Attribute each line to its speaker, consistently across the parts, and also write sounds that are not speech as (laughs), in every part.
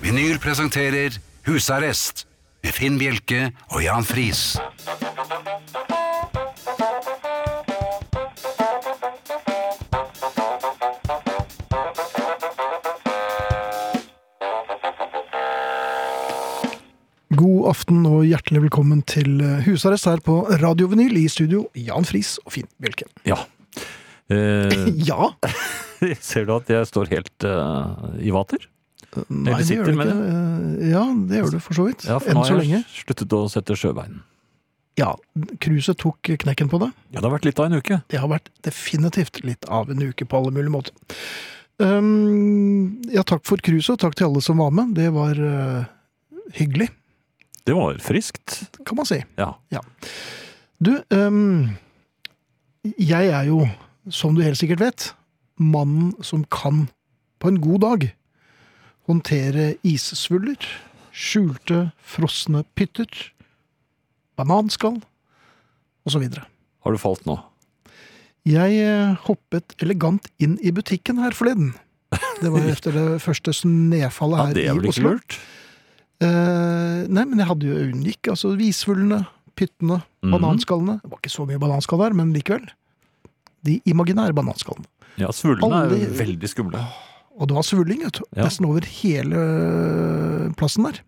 Speaker 1: Vinyl presenterer Husarrest med Finn Bjelke og Jan Friis.
Speaker 2: God aften og hjertelig velkommen til eh, husarrest her på Radio Vinyl i studio, Jan Friis og Finn Bjelke.
Speaker 3: Ja. Eh,
Speaker 2: (laughs) Ja!
Speaker 3: (laughs) ser du at jeg står helt eh, i vater?
Speaker 2: Nei, det
Speaker 3: sitter
Speaker 2: gjør du
Speaker 3: med
Speaker 2: ikke. Eh, Ja, det gjør du for så vidt.
Speaker 3: Ja, for
Speaker 2: Enn
Speaker 3: nå
Speaker 2: så
Speaker 3: har
Speaker 2: lenge.
Speaker 3: jeg sluttet å sette sjøbein.
Speaker 2: Ja, Cruiset tok knekken på deg.
Speaker 3: Ja, det har vært litt av en uke.
Speaker 2: Det har vært definitivt litt av en uke på alle mulige måter. Ehm, ja, takk for cruiset, og takk til alle som var med. Det var eh, hyggelig,
Speaker 3: Det var friskt.
Speaker 2: kan man si.
Speaker 3: Ja.
Speaker 2: Du, ehm, jeg er jo, som du helt sikkert vet, mannen som kan, på en god dag, håndtere issvuller, skjulte, frosne pytter, bananskall, og så videre.
Speaker 3: Har du falt nå?
Speaker 2: Jeg eh, hoppet elegant inn i butikken her forleden. Det
Speaker 3: (laughs)
Speaker 2: var etter det første
Speaker 3: Ja,
Speaker 2: snøfallet her
Speaker 3: det er
Speaker 2: i
Speaker 3: vel ikke
Speaker 2: Oslo.
Speaker 3: lurt?
Speaker 2: Eh, nei, men jeg hadde jo unngikk. Altså visvullene, pyttene,
Speaker 3: Mhm.
Speaker 2: bananskallene. Det var ikke så mye bananskall der, men likevel. De imaginære bananskallene.
Speaker 3: Ja, svulmene er
Speaker 2: Alle-
Speaker 3: veldig skumle.
Speaker 2: Og det var svulling, vet du.
Speaker 3: Ja.
Speaker 2: Nesten over hele eh, plassen der.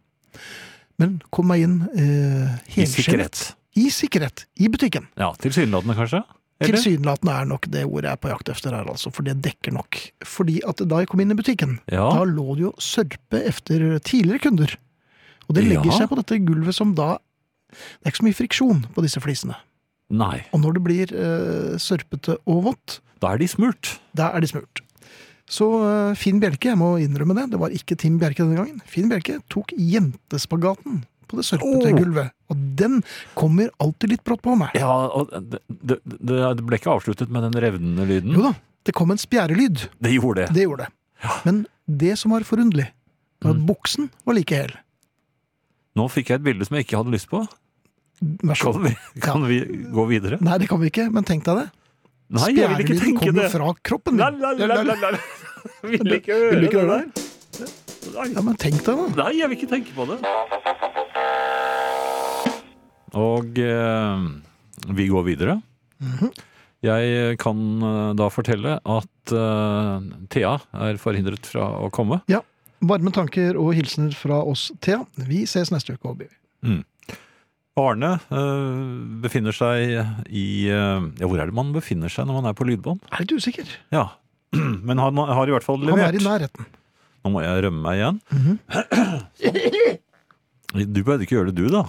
Speaker 2: Men kom meg inn eh,
Speaker 3: I
Speaker 2: helskjellet.
Speaker 3: sikkerhet.
Speaker 2: I sikkerhet. I butikken.
Speaker 3: Ja, tilsynelatende kanskje? Eller?
Speaker 2: Tilsynelatende er nok det ordet jeg er på jakt efter her, altså, for det dekker nok. Fordi at da jeg kom inn i butikken,
Speaker 3: Ja.
Speaker 2: da lå det jo sørpe efter tidligere kunder. Og det legger
Speaker 3: Ja.
Speaker 2: seg på dette gulvet som da Det er ikke så mye friksjon på disse flisene.
Speaker 3: Nei,
Speaker 2: Og når det blir eh, sørpete og vått,
Speaker 3: da er de smurt.
Speaker 2: da er de smurt. Så eh, Finn Bjelke, jeg må innrømme det, det var ikke Tim Bjerke denne gangen. Finn Bjelke tok jentespagaten på det sørpete
Speaker 3: Åh.
Speaker 2: gulvet. Og den kommer alltid litt brått på meg.
Speaker 3: Ja, og det, det, det det ble ikke avsluttet med den revnende lyden.
Speaker 2: Jo da, det kom en spjærelyd.
Speaker 3: Det gjorde det.
Speaker 2: Det gjorde det. Men det som var forunderlig, var
Speaker 3: Mm.
Speaker 2: at buksen var like hel.
Speaker 3: Nå fikk jeg et bilde som jeg ikke hadde lyst på.
Speaker 2: Vær så
Speaker 3: Kan
Speaker 2: god.
Speaker 3: vi, kan vi gå videre?
Speaker 2: Nei, det kan vi ikke, men tenk deg det.
Speaker 3: Nei, jeg vil ikke
Speaker 2: Spjærelyden
Speaker 3: tenke
Speaker 2: Ah, kommer
Speaker 3: det.
Speaker 2: fra kroppen
Speaker 3: La,
Speaker 2: din.
Speaker 3: la, la, la, la.
Speaker 2: Vil
Speaker 3: Vil ikke
Speaker 2: du
Speaker 3: høre
Speaker 2: ikke
Speaker 3: det
Speaker 2: høre
Speaker 3: der.
Speaker 2: det?
Speaker 3: Nei.
Speaker 2: Ja, men tenk deg det.
Speaker 3: Nei, jeg vil ikke tenke på det. Og eh, vi går videre. Jeg kan eh, da fortelle at eh, Thea er forhindret fra å komme.
Speaker 2: Varme tanker og hilsener fra oss, Thea. Vi ses neste uke, Håby.
Speaker 3: Arne eh, befinner seg i eh, Ja, hvor er det man befinner seg når man er på lydbånd?
Speaker 2: Jeg er litt usikker.
Speaker 3: Ja, men han har i hvert fall
Speaker 2: Han er
Speaker 3: levert.
Speaker 2: i nærheten.
Speaker 3: Nå må jeg rømme meg igjen. Sånn. Du behøvde ikke gjøre det, du, da.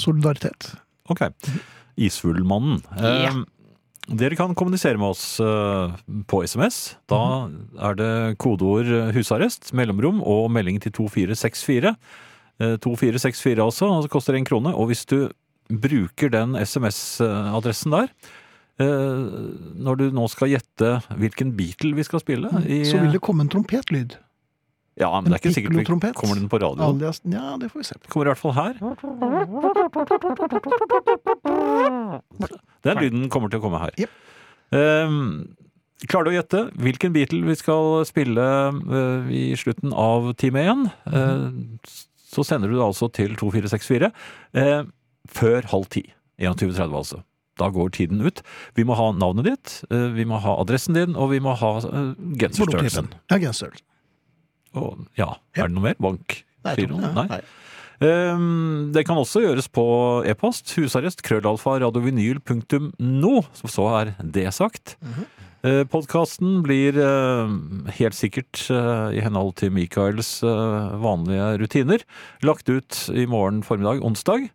Speaker 2: Solidaritet.
Speaker 3: Ok. Isfuglmannen. Eh, dere kan kommunisere med oss eh, på SMS. Da
Speaker 2: Mhm.
Speaker 3: er det kodeord eh, 'husarrest', mellomrom og melding til 2464. Eh, 2464 altså, og det koster én krone. Og hvis du bruker den SMS-adressen der eh, når du nå skal gjette hvilken Beatle vi skal spille i,
Speaker 2: Så vil det komme en trompetlyd.
Speaker 3: Ja, men det er ikke
Speaker 2: en
Speaker 3: sikkert vi
Speaker 2: piccolo-trompet.
Speaker 3: kommer den på radioen.
Speaker 2: Alias Ja, det får vi se på.
Speaker 3: Kommer i hvert fall her. Den lyden kommer til å komme her.
Speaker 2: Jep.
Speaker 3: Ehm, klarer du å gjette hvilken Beatle vi skal spille eh, i slutten av time én? Eh, så sender du det altså til 2464 eh, før halv ti. 21.30 altså. Da går tiden ut. Vi må ha navnet ditt, eh, vi må ha adressen din, og vi må ha eh, genserstørrelsen.
Speaker 2: Ja, genser.
Speaker 3: Og, ja,
Speaker 2: Ja.
Speaker 3: er det noe mer? Bank?
Speaker 2: Nei, jeg tror
Speaker 3: Giro?
Speaker 2: ikke det.
Speaker 3: Nei. Ehm, Det kan også gjøres på e-post. Husarrest krøllalfa radiovinyl.no. Så- Så er det sagt.
Speaker 2: Mhm.
Speaker 3: Mm Podkasten blir eh, helt sikkert, eh, i henhold til Michaels eh, vanlige rutiner, lagt ut i morgen formiddag, onsdag.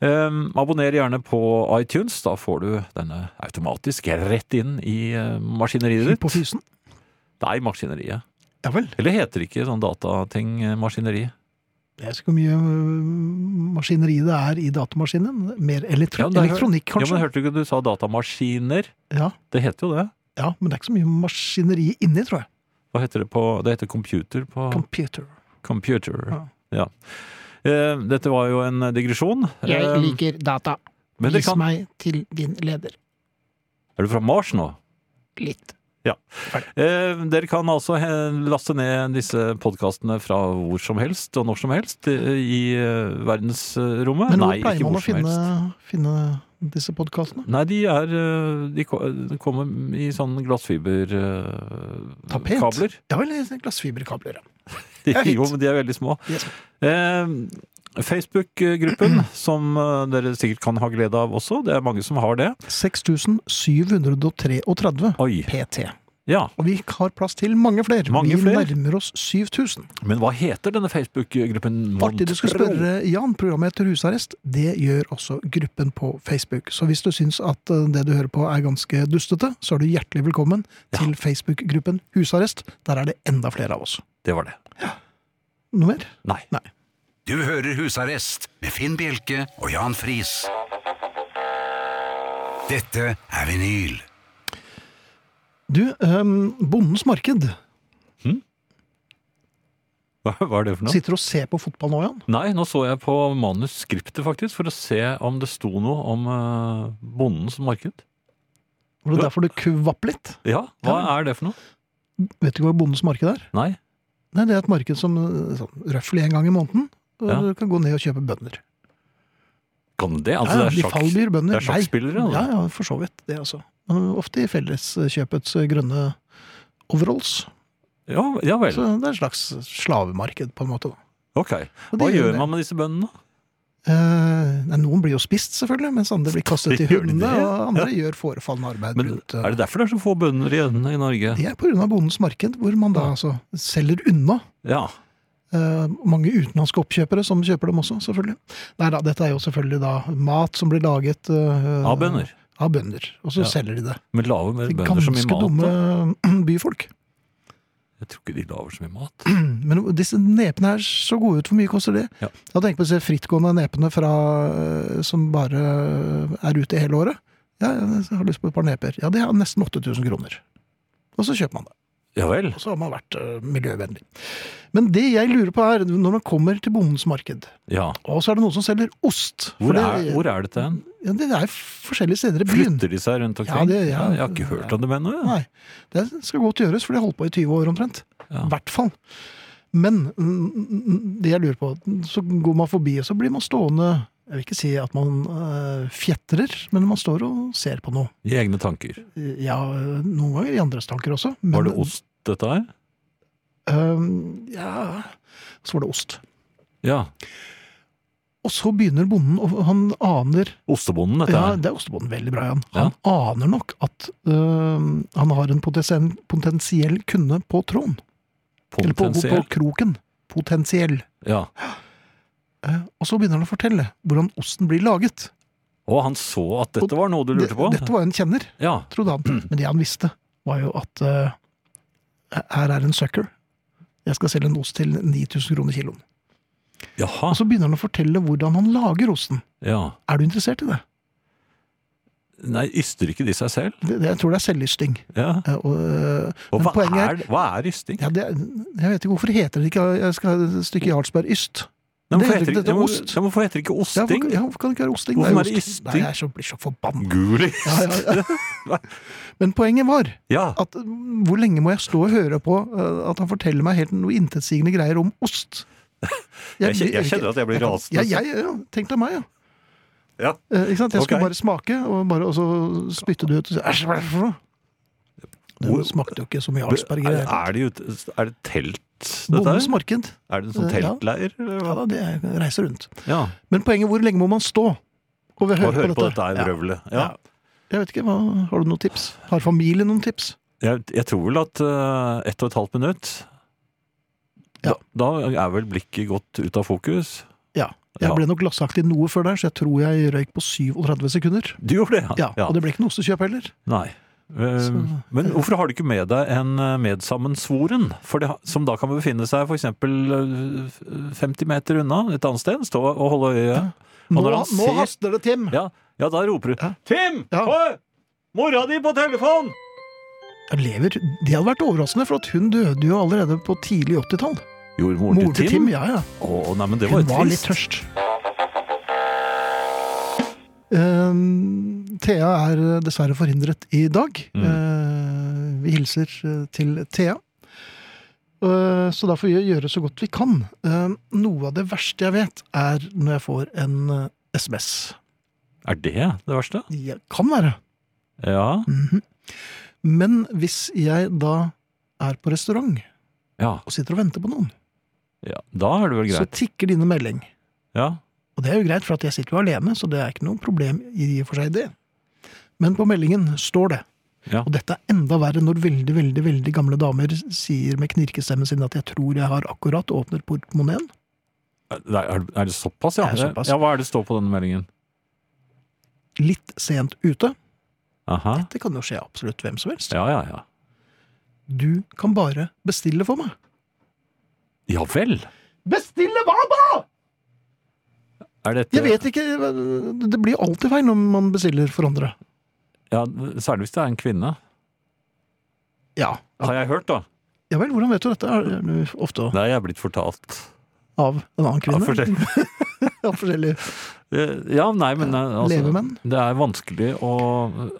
Speaker 3: Ehm, abonner gjerne på iTunes. Da får du denne automatisk rett inn i eh, maskineriet ditt.
Speaker 2: På fysen.
Speaker 3: Nei, maskineriet.
Speaker 2: Ja vel.
Speaker 3: Eller heter det ikke sånn datating eh, maskineri?
Speaker 2: Jeg vet ikke hvor mye øh, maskineri det er i datamaskinen. Mer elektro
Speaker 3: Ja, det er-
Speaker 2: elektronikk,
Speaker 3: Ja, men
Speaker 2: kanskje.
Speaker 3: Hørte du ikke du sa datamaskiner?
Speaker 2: Ja,
Speaker 3: Det heter jo det.
Speaker 2: ja, men det er ikke så mye maskineri inni, tror jeg.
Speaker 3: Hva heter det på Det heter computer på
Speaker 2: Computer.
Speaker 3: Computer. Ja. Eh, Dette var jo en digresjon. Eh,
Speaker 2: liker data.
Speaker 3: men dere kan,
Speaker 2: meg til din leder.
Speaker 3: er du fra Mars nå?
Speaker 2: Litt.
Speaker 3: Eh, dere kan altså eh, laste ned disse podkastene fra hvor som helst og når som helst eh, i eh, verdensrommet.
Speaker 2: Men hvor
Speaker 3: Nei,
Speaker 2: pleier
Speaker 3: ikke
Speaker 2: man
Speaker 3: hvor
Speaker 2: å
Speaker 3: som
Speaker 2: finne,
Speaker 3: helst.
Speaker 2: finne disse podkastene?
Speaker 3: Nei, de er eh, De ko- de kommer i sånn eh,
Speaker 2: Tapet?
Speaker 3: glassfiberkabler.
Speaker 2: Ja vel, sånn glassfiberkabler. ja.
Speaker 3: (laughs)
Speaker 2: er fint.
Speaker 3: Jo, men de er veldig små.
Speaker 2: Yes.
Speaker 3: Eh,
Speaker 2: (clears throat)
Speaker 3: Facebook-gruppen, som eh, dere sikkert kan ha glede av også. Det er mange som har det.
Speaker 2: 6733
Speaker 3: Oi.
Speaker 2: PT.
Speaker 3: Ja.
Speaker 2: Og vi har plass til mange flere.
Speaker 3: Mange
Speaker 2: vi
Speaker 3: flere?
Speaker 2: nærmer oss 7000.
Speaker 3: Men hva heter denne Facebook-gruppen? mon
Speaker 2: Artig du skulle
Speaker 3: tro?
Speaker 2: spørre, Jan. Programmet heter Husarrest. Det gjør også gruppen på Facebook. Så hvis du syns at eh, det du hører på er ganske dustete, så er du hjertelig velkommen til Facebook-gruppen Husarrest. Der er det enda flere av oss.
Speaker 3: Det var det.
Speaker 2: Noe mer?
Speaker 3: Nei.
Speaker 1: Du hører Husarrest med Finn Bjelke og Jan Friis. Dette er vinyl.
Speaker 2: Du, ehm, Bondens Marked
Speaker 3: Hva, hva er det for noe?
Speaker 2: sitter og ser på fotball nå, Jan.
Speaker 3: Nei, nå så jeg på manuskriptet faktisk, for å se om det sto noe om eh, bondens marked.
Speaker 2: Var det
Speaker 3: Ja.
Speaker 2: derfor du kvapp litt?
Speaker 3: Ja, hva er det for noe?
Speaker 2: Vet du ikke hva Bondens Marked er?
Speaker 3: Nei.
Speaker 2: Nei, Det er et marked som eh, sånn, røftlig en gang i måneden. og
Speaker 3: Ja.
Speaker 2: Du kan gå ned og kjøpe bønder.
Speaker 3: Kan det?
Speaker 2: ja,
Speaker 3: Altså, det
Speaker 2: de
Speaker 3: er sjakk.
Speaker 2: fallbyr bønder.
Speaker 3: det er sjakkspillere,
Speaker 2: Nei.
Speaker 3: altså.
Speaker 2: Ja, ja, for så vidt. Det, altså. Men Ofte i felleskjøpets eh, grønne overalls.
Speaker 3: Ja, ja vel.
Speaker 2: Så det er et slags slavemarked, på en måte. Da.
Speaker 3: Ok.
Speaker 2: Og
Speaker 3: Hva
Speaker 2: det
Speaker 3: gjør
Speaker 2: det.
Speaker 3: man med disse bøndene?
Speaker 2: Eh, nei, noen blir jo spist, selvfølgelig, mens andre blir kastet til
Speaker 3: Gjør de
Speaker 2: hundene.
Speaker 3: det?
Speaker 2: Og andre gjør forefallende arbeid
Speaker 3: Men
Speaker 2: rundt eh.
Speaker 3: er det derfor det er så få bønder igjen i Norge?
Speaker 2: Det er pga. bondens marked, hvor man da altså selger unna.
Speaker 3: Ja.
Speaker 2: Eh, mange utenlandske oppkjøpere som kjøper dem også, selvfølgelig. Nei da, dette er jo selvfølgelig da mat som blir laget eh,
Speaker 3: Av bønder.
Speaker 2: Av bønder. Og så
Speaker 3: Ja.
Speaker 2: selger de det.
Speaker 3: Men laver mer
Speaker 2: Til
Speaker 3: bønder så mye
Speaker 2: ganske
Speaker 3: mat?
Speaker 2: dumme
Speaker 3: da?
Speaker 2: (clears throat) byfolk.
Speaker 3: Jeg tror ikke de laver så mye mat. (clears throat)
Speaker 2: Men disse nepene her så gode ut. Hvor mye koster de?
Speaker 3: Ja.
Speaker 2: Da tenker jeg på disse frittgående nepene fra, øh, som bare øh, er ute hele året. Ja, jeg har lyst på et par neper. Ja, det er nesten 8000 kroner. Og så kjøper man det.
Speaker 3: Ja vel.
Speaker 2: Og så har man vært øh, miljøvennlig. Men det jeg lurer på er, når man kommer til bondens marked,
Speaker 3: Ja.
Speaker 2: og så er det noen som selger ost For
Speaker 3: Hvor
Speaker 2: det,
Speaker 3: er, hvor er dette hen?
Speaker 2: Ja, det er forskjellige steder i byen.
Speaker 3: Flytter de seg rundt
Speaker 2: Ja,
Speaker 3: omkring?
Speaker 2: det- ja.
Speaker 3: jeg har ikke hørt om dem ennå. jeg.
Speaker 2: Nei, det skal godt gjøres, for de har holdt på i 20 år omtrent.
Speaker 3: Ja.
Speaker 2: I hvert fall. Men mm, mm, det jeg lurer på, så går man forbi, og så blir man stående Jeg vil ikke si at man eh, fjetrer, men man står og ser på noe.
Speaker 3: I egne tanker.
Speaker 2: Ja, noen ganger i andres tanker også. Men,
Speaker 3: Var det ost, dette her?
Speaker 2: eh, ja, så var det ost.
Speaker 3: Ja.
Speaker 2: Og så begynner bonden, og han aner
Speaker 3: Ostebonden, dette
Speaker 2: Ja,
Speaker 3: her.
Speaker 2: det er ostebonden. Veldig bra, Jan. Han aner nok at eh, han har en potensiell, potensiell kunde på tråden. Eller på, på,
Speaker 3: Potensiell.
Speaker 2: på kroken. Potensiell.
Speaker 3: Ja.
Speaker 2: Eh, og så begynner han å fortelle hvordan osten blir laget.
Speaker 3: Og han så at dette var noe du lurte på? Mm.
Speaker 2: Det- Dette var en kjenner,
Speaker 3: Ja.
Speaker 2: trodde han. Men det han visste, var jo at eh, her er en sucker. Jeg skal selge en ost til 9000 kroner kiloen.
Speaker 3: Jaha.
Speaker 2: Og så begynner han å fortelle hvordan han lager osten.
Speaker 3: Ja.
Speaker 2: Er du interessert i det?
Speaker 3: Nei, yster ikke de seg selv?
Speaker 2: det, det jeg tror det er selvlysting.
Speaker 3: Ja.
Speaker 2: Eh, og, eh,
Speaker 3: Og
Speaker 2: men
Speaker 3: hva
Speaker 2: poenget er,
Speaker 3: er, hva er ysting?
Speaker 2: ja, det, er- jeg vet ikke hvorfor heter det ikke jeg skal ha et stykke Jarlsberg Yst.
Speaker 3: Nei, men
Speaker 2: det heter
Speaker 3: hvorfor heter
Speaker 2: ikke-
Speaker 3: ikke-
Speaker 2: det er
Speaker 3: ja,
Speaker 2: ost.
Speaker 3: men hvorfor heter det ikke
Speaker 2: Ja, hvorfor,
Speaker 3: osting?
Speaker 2: ja, hvorfor kan det ikke være osting?
Speaker 3: Hvorfor er det
Speaker 2: ost.
Speaker 3: ysting?
Speaker 2: Nei, jeg er så, blir så forbanna.
Speaker 3: Gulis!
Speaker 2: Ja, ja, ja. Men poenget var
Speaker 3: Ja.
Speaker 2: at mm, hvor lenge må jeg stå og høre på eh, at han forteller meg helt noe intetsigende greier om ost?
Speaker 3: (laughs) Jeg kje-
Speaker 2: blir-
Speaker 3: jeg kjenner at jeg blir
Speaker 2: kan-
Speaker 3: rasende.
Speaker 2: Ja, jeg, ja, tenk deg meg, ja.
Speaker 3: Ja.
Speaker 2: Eh, ikke sant? Jeg skulle
Speaker 3: Ok.
Speaker 2: bare smake, og, bare, og så spytte det ut. Og så, Æsj, hva er det for noe?
Speaker 3: Hvor-
Speaker 2: Det smakte jo ikke så mye
Speaker 3: Er,
Speaker 2: Jarlsberger.
Speaker 3: er, det ute, er det telt, dette
Speaker 2: Bondens
Speaker 3: her?
Speaker 2: marked.
Speaker 3: Er det en sånn
Speaker 2: Eh, ja.
Speaker 3: teltleir? eller
Speaker 2: Ja
Speaker 3: hva?
Speaker 2: da, det er- reiser rundt.
Speaker 3: Ja.
Speaker 2: Men poenget hvor lenge må man stå og høre,
Speaker 3: Og høre på dette
Speaker 2: Ja.
Speaker 3: her vrøvlet. Ja.
Speaker 2: Jeg vet ikke, hva, Har du noen tips? Har familien noen tips?
Speaker 3: Jeg, jeg tror vel at uh, ett og et halvt minutt
Speaker 2: Ja.
Speaker 3: da, da er vel blikket gått ut av fokus.
Speaker 2: Ja. Jeg
Speaker 3: Ja.
Speaker 2: ble nok glassaktig noe før der, så jeg tror jeg røyk på 37 sekunder.
Speaker 3: Du gjorde det,
Speaker 2: Ja, Og det ble ikke noe ostekjøp heller.
Speaker 3: Nei. Eh, Men hvorfor har du ikke med deg en eh, medsammensvoren, for det, ha- som da kan befinne seg f.eks. 50 meter unna et annet sted? Stå og holde øye. Og
Speaker 2: Nå,
Speaker 3: når han
Speaker 2: nå
Speaker 3: ser
Speaker 2: haster det, Tim!
Speaker 3: ja, ja, da roper du
Speaker 2: Ja.
Speaker 3: 'Tim!
Speaker 2: Ja.
Speaker 3: Hå! Mora di på telefon!'
Speaker 2: Jeg Lever. Det hadde vært overraskende, for at hun døde jo allerede på tidlig 80-tall.
Speaker 3: Gjorde moren
Speaker 2: Mor
Speaker 3: til Tim?
Speaker 2: ja, ja.
Speaker 3: Å, nei, men det var
Speaker 2: Hun
Speaker 3: jo
Speaker 2: var litt
Speaker 3: trist.
Speaker 2: tørst. Eh, Thea er dessverre forhindret i dag.
Speaker 3: Mm.
Speaker 2: Eh, vi hilser eh, til Thea. Eh, så da får vi gjøre så godt vi kan. Eh, noe av det verste jeg vet, er når jeg får en eh, SMS.
Speaker 3: Er det det verste?
Speaker 2: Det kan være.
Speaker 3: Ja.
Speaker 2: Mhm. Men hvis jeg da er på restaurant
Speaker 3: ja.
Speaker 2: og sitter og venter på noen,
Speaker 3: ja. Da er det vel
Speaker 2: så
Speaker 3: greit.
Speaker 2: tikker det inn en melding.
Speaker 3: Ja.
Speaker 2: Og det er jo greit, for at jeg sitter jo alene, så det er ikke noe problem i og for seg det. Men på meldingen står det.
Speaker 3: Ja.
Speaker 2: Og dette er enda verre når veldig veldig, veldig gamle damer sier med knirkestemmen sin at 'jeg tror jeg har akkurat åpnet portemoneen'.
Speaker 3: Nei, Er er det såpass, ja?
Speaker 2: Det er såpass.
Speaker 3: Ja, Hva er det står på denne meldingen?
Speaker 2: Litt sent ute.
Speaker 3: Aha.
Speaker 2: Dette kan jo skje absolutt hvem som helst.
Speaker 3: Ja, ja, ja.
Speaker 2: Du kan bare bestille for meg.
Speaker 3: Ja vel?
Speaker 2: Bestille hva da?!
Speaker 3: Er dette
Speaker 2: Jeg vet ikke. Det blir alltid feil når man bestiller for andre.
Speaker 3: Ja, Særlig hvis det er en kvinne.
Speaker 2: Ja.
Speaker 3: Har jeg hørt, da.
Speaker 2: ja vel, hvordan vet du dette? Er det ofte
Speaker 3: Det er jeg blitt fortalt.
Speaker 2: av en annen
Speaker 3: Ja,
Speaker 2: kvinne?
Speaker 3: for
Speaker 2: (laughs)
Speaker 3: det-
Speaker 2: Av forskjellige
Speaker 3: Eh, Ja, nei, men eh, altså,
Speaker 2: levemenn?
Speaker 3: Det er vanskelig å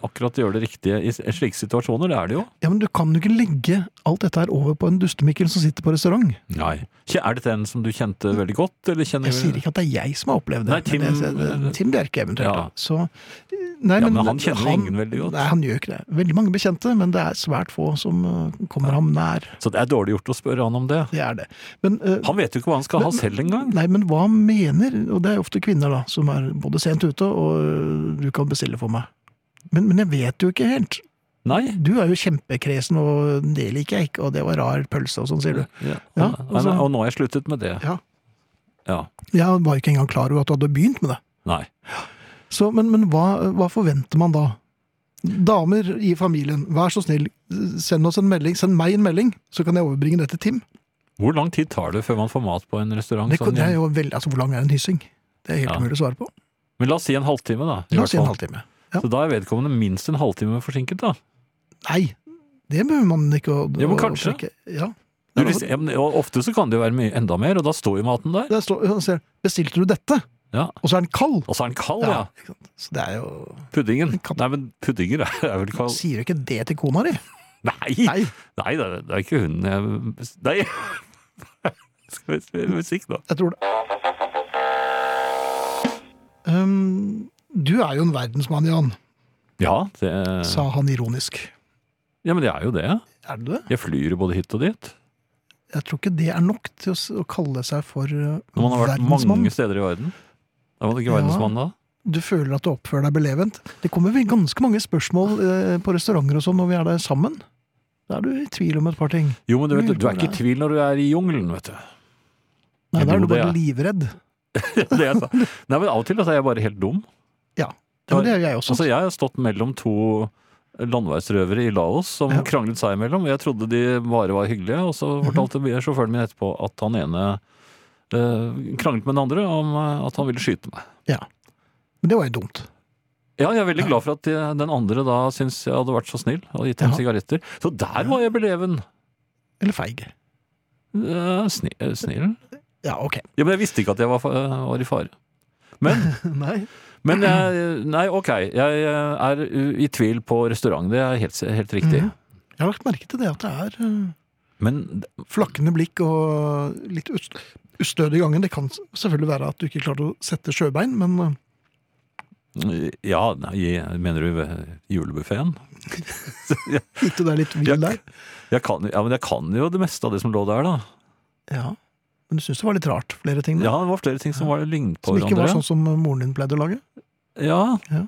Speaker 3: akkurat gjøre det riktige i s- slike situasjoner. Det er det jo.
Speaker 2: Ja, men du kan jo ikke legge alt dette her over på en dustemikkel som sitter på restaurant.
Speaker 3: Nei. Kje- Er dette en som du kjente veldig godt? Eller kjenner
Speaker 2: Jeg sier ikke at det er jeg som har opplevd det.
Speaker 3: Nei, Tim-
Speaker 2: men det, det, Tim Bjerke eventuelt.
Speaker 3: Ja.
Speaker 2: da. Så, nei,
Speaker 3: Ja, men han kjenner jo ingen veldig godt.
Speaker 2: Nei, han gjør ikke det. Veldig mange bekjente, men det er svært få som øh, kommer ham nær.
Speaker 3: Så det er dårlig gjort å spørre han om det.
Speaker 2: Det er det. Men, øh,
Speaker 3: Han vet jo ikke hva han skal ha
Speaker 2: Men-
Speaker 3: selv engang.
Speaker 2: nei, men hva mener Og det er ofte kvinner, da, som er både sent ute og øh, du kan bestille for meg. Men, men jeg vet jo ikke helt.
Speaker 3: Nei.
Speaker 2: Du er jo kjempekresen, og det liker jeg ikke, og det var rar pølse og sånn, sier du.
Speaker 3: Ja.
Speaker 2: Ja,
Speaker 3: og,
Speaker 2: altså-
Speaker 3: og nå har jeg sluttet med det.
Speaker 2: Ja.
Speaker 3: Ja.
Speaker 2: Jeg var jo ikke engang klar over at du hadde begynt med det.
Speaker 3: Nei.
Speaker 2: Så, men men hva, hva forventer man da? Damer i familien, vær så snill, send oss en melding, send meg en melding, så kan jeg overbringe det til Tim.
Speaker 3: Hvor lang tid tar det før man får mat på en restaurant?
Speaker 2: Det, kan-
Speaker 3: sånn
Speaker 2: det er
Speaker 3: igjen?
Speaker 2: jo veldig, altså Hvor lang er en hyssing? Det er helt
Speaker 3: Ja.
Speaker 2: umulig å svare på.
Speaker 3: Men la oss si en halvtime, da. i
Speaker 2: La
Speaker 3: hvert
Speaker 2: oss si en
Speaker 3: fall.
Speaker 2: halvtime. Ja.
Speaker 3: Så da er vedkommende minst en halvtime forsinket, da.
Speaker 2: Nei, det behøver man ikke å
Speaker 3: Ja, men
Speaker 2: å- å
Speaker 3: kanskje.
Speaker 2: trekke. Ja.
Speaker 3: Du, hvis- ja, men- og ofte så kan det jo være mye, enda mer, og da står jo maten der.
Speaker 2: Der står, han ser, Bestilte du dette?
Speaker 3: Ja.
Speaker 2: Og så er den kald!
Speaker 3: Og så er den kald, ja.
Speaker 2: ikke sant? Så det er jo
Speaker 3: Puddingen.
Speaker 2: Kald.
Speaker 3: Nei, men puddinger er er vel kald
Speaker 2: Sier du ikke det til kona
Speaker 3: (laughs)
Speaker 2: di?
Speaker 3: Nei!
Speaker 2: Nei.
Speaker 3: Nei, det er, det er ikke hun jeg Nei! (laughs) Skal vi spille musikk, da?
Speaker 2: Jeg tror det. Um, du er jo en verdensmann, Jan,
Speaker 3: Ja, det
Speaker 2: sa han ironisk.
Speaker 3: Ja, men det er jo det.
Speaker 2: Er du det?
Speaker 3: Jeg flyr jo både hit og dit.
Speaker 2: Jeg tror ikke det er nok til å, s- å kalle seg for uh,
Speaker 3: Når man har vært
Speaker 2: verdensmann.
Speaker 3: mange steder i verden. Er man ikke
Speaker 2: Ja.
Speaker 3: verdensmann da?
Speaker 2: Du føler at du oppfører deg belevent. Det kommer vel ganske mange spørsmål eh, på restauranter og sånn når vi er der sammen. Da er du i tvil om et par ting.
Speaker 3: Jo, men du, vet,
Speaker 2: Lurer på
Speaker 3: du er ikke i
Speaker 2: det.
Speaker 3: tvil når du er i jungelen, vet du. (laughs)
Speaker 2: Nei,
Speaker 3: Jeg
Speaker 2: da er
Speaker 3: tror
Speaker 2: du bare
Speaker 3: det,
Speaker 2: livredd.
Speaker 3: Det jeg sa. Nei, men av og til altså, er jeg bare helt dum.
Speaker 2: Ja, men det er jo jeg også.
Speaker 3: Altså, jeg har stått mellom to landeveisrøvere i Laos som
Speaker 2: Ja. Mhm.
Speaker 3: kranglet seg imellom. Jeg trodde de bare var hyggelige, og så fortalte sjåføren min etterpå at han ene eh, kranglet med den andre om eh, at han ville skyte meg.
Speaker 2: Men det var jo dumt.
Speaker 3: Ja, jeg er veldig glad for at eh, den andre da syntes jeg hadde vært så snill og gitt
Speaker 2: Ja.
Speaker 3: ham sigaretter. Så der var jeg beleven.
Speaker 2: Eller feig.
Speaker 3: Eh, sni- eh, Snill?
Speaker 2: Ja,
Speaker 3: (laughs)
Speaker 2: ok.
Speaker 3: Ja, men jeg visste ikke at jeg var, fa- eh, var i fare. Men
Speaker 2: (laughs) Nei.
Speaker 3: Men jeg, nei, ok. Jeg eh, er i tvil på restaurant. Det er helt, helt riktig.
Speaker 2: Mhm. Jeg har lagt merke til det at det er eh,
Speaker 3: Men
Speaker 2: flakkende blikk og litt ust ustødig i gangen. Det kan s- selvfølgelig være at du ikke klarte å sette sjøbein, men eh,
Speaker 3: eh, ja, nei, mener du eh, julebuffeen?
Speaker 2: gikk du deg litt vill
Speaker 3: Jeg-
Speaker 2: der?
Speaker 3: Jeg kan, ja, men jeg kan jo det meste av det som lå der, da.
Speaker 2: Ja. Men du syns det var litt rart, flere ting? da?
Speaker 3: Ja, det var flere ting som var lignet på
Speaker 2: Som ikke var
Speaker 3: hverandre.
Speaker 2: sånn som moren din pleide å lage?
Speaker 3: Ja.
Speaker 2: Ja.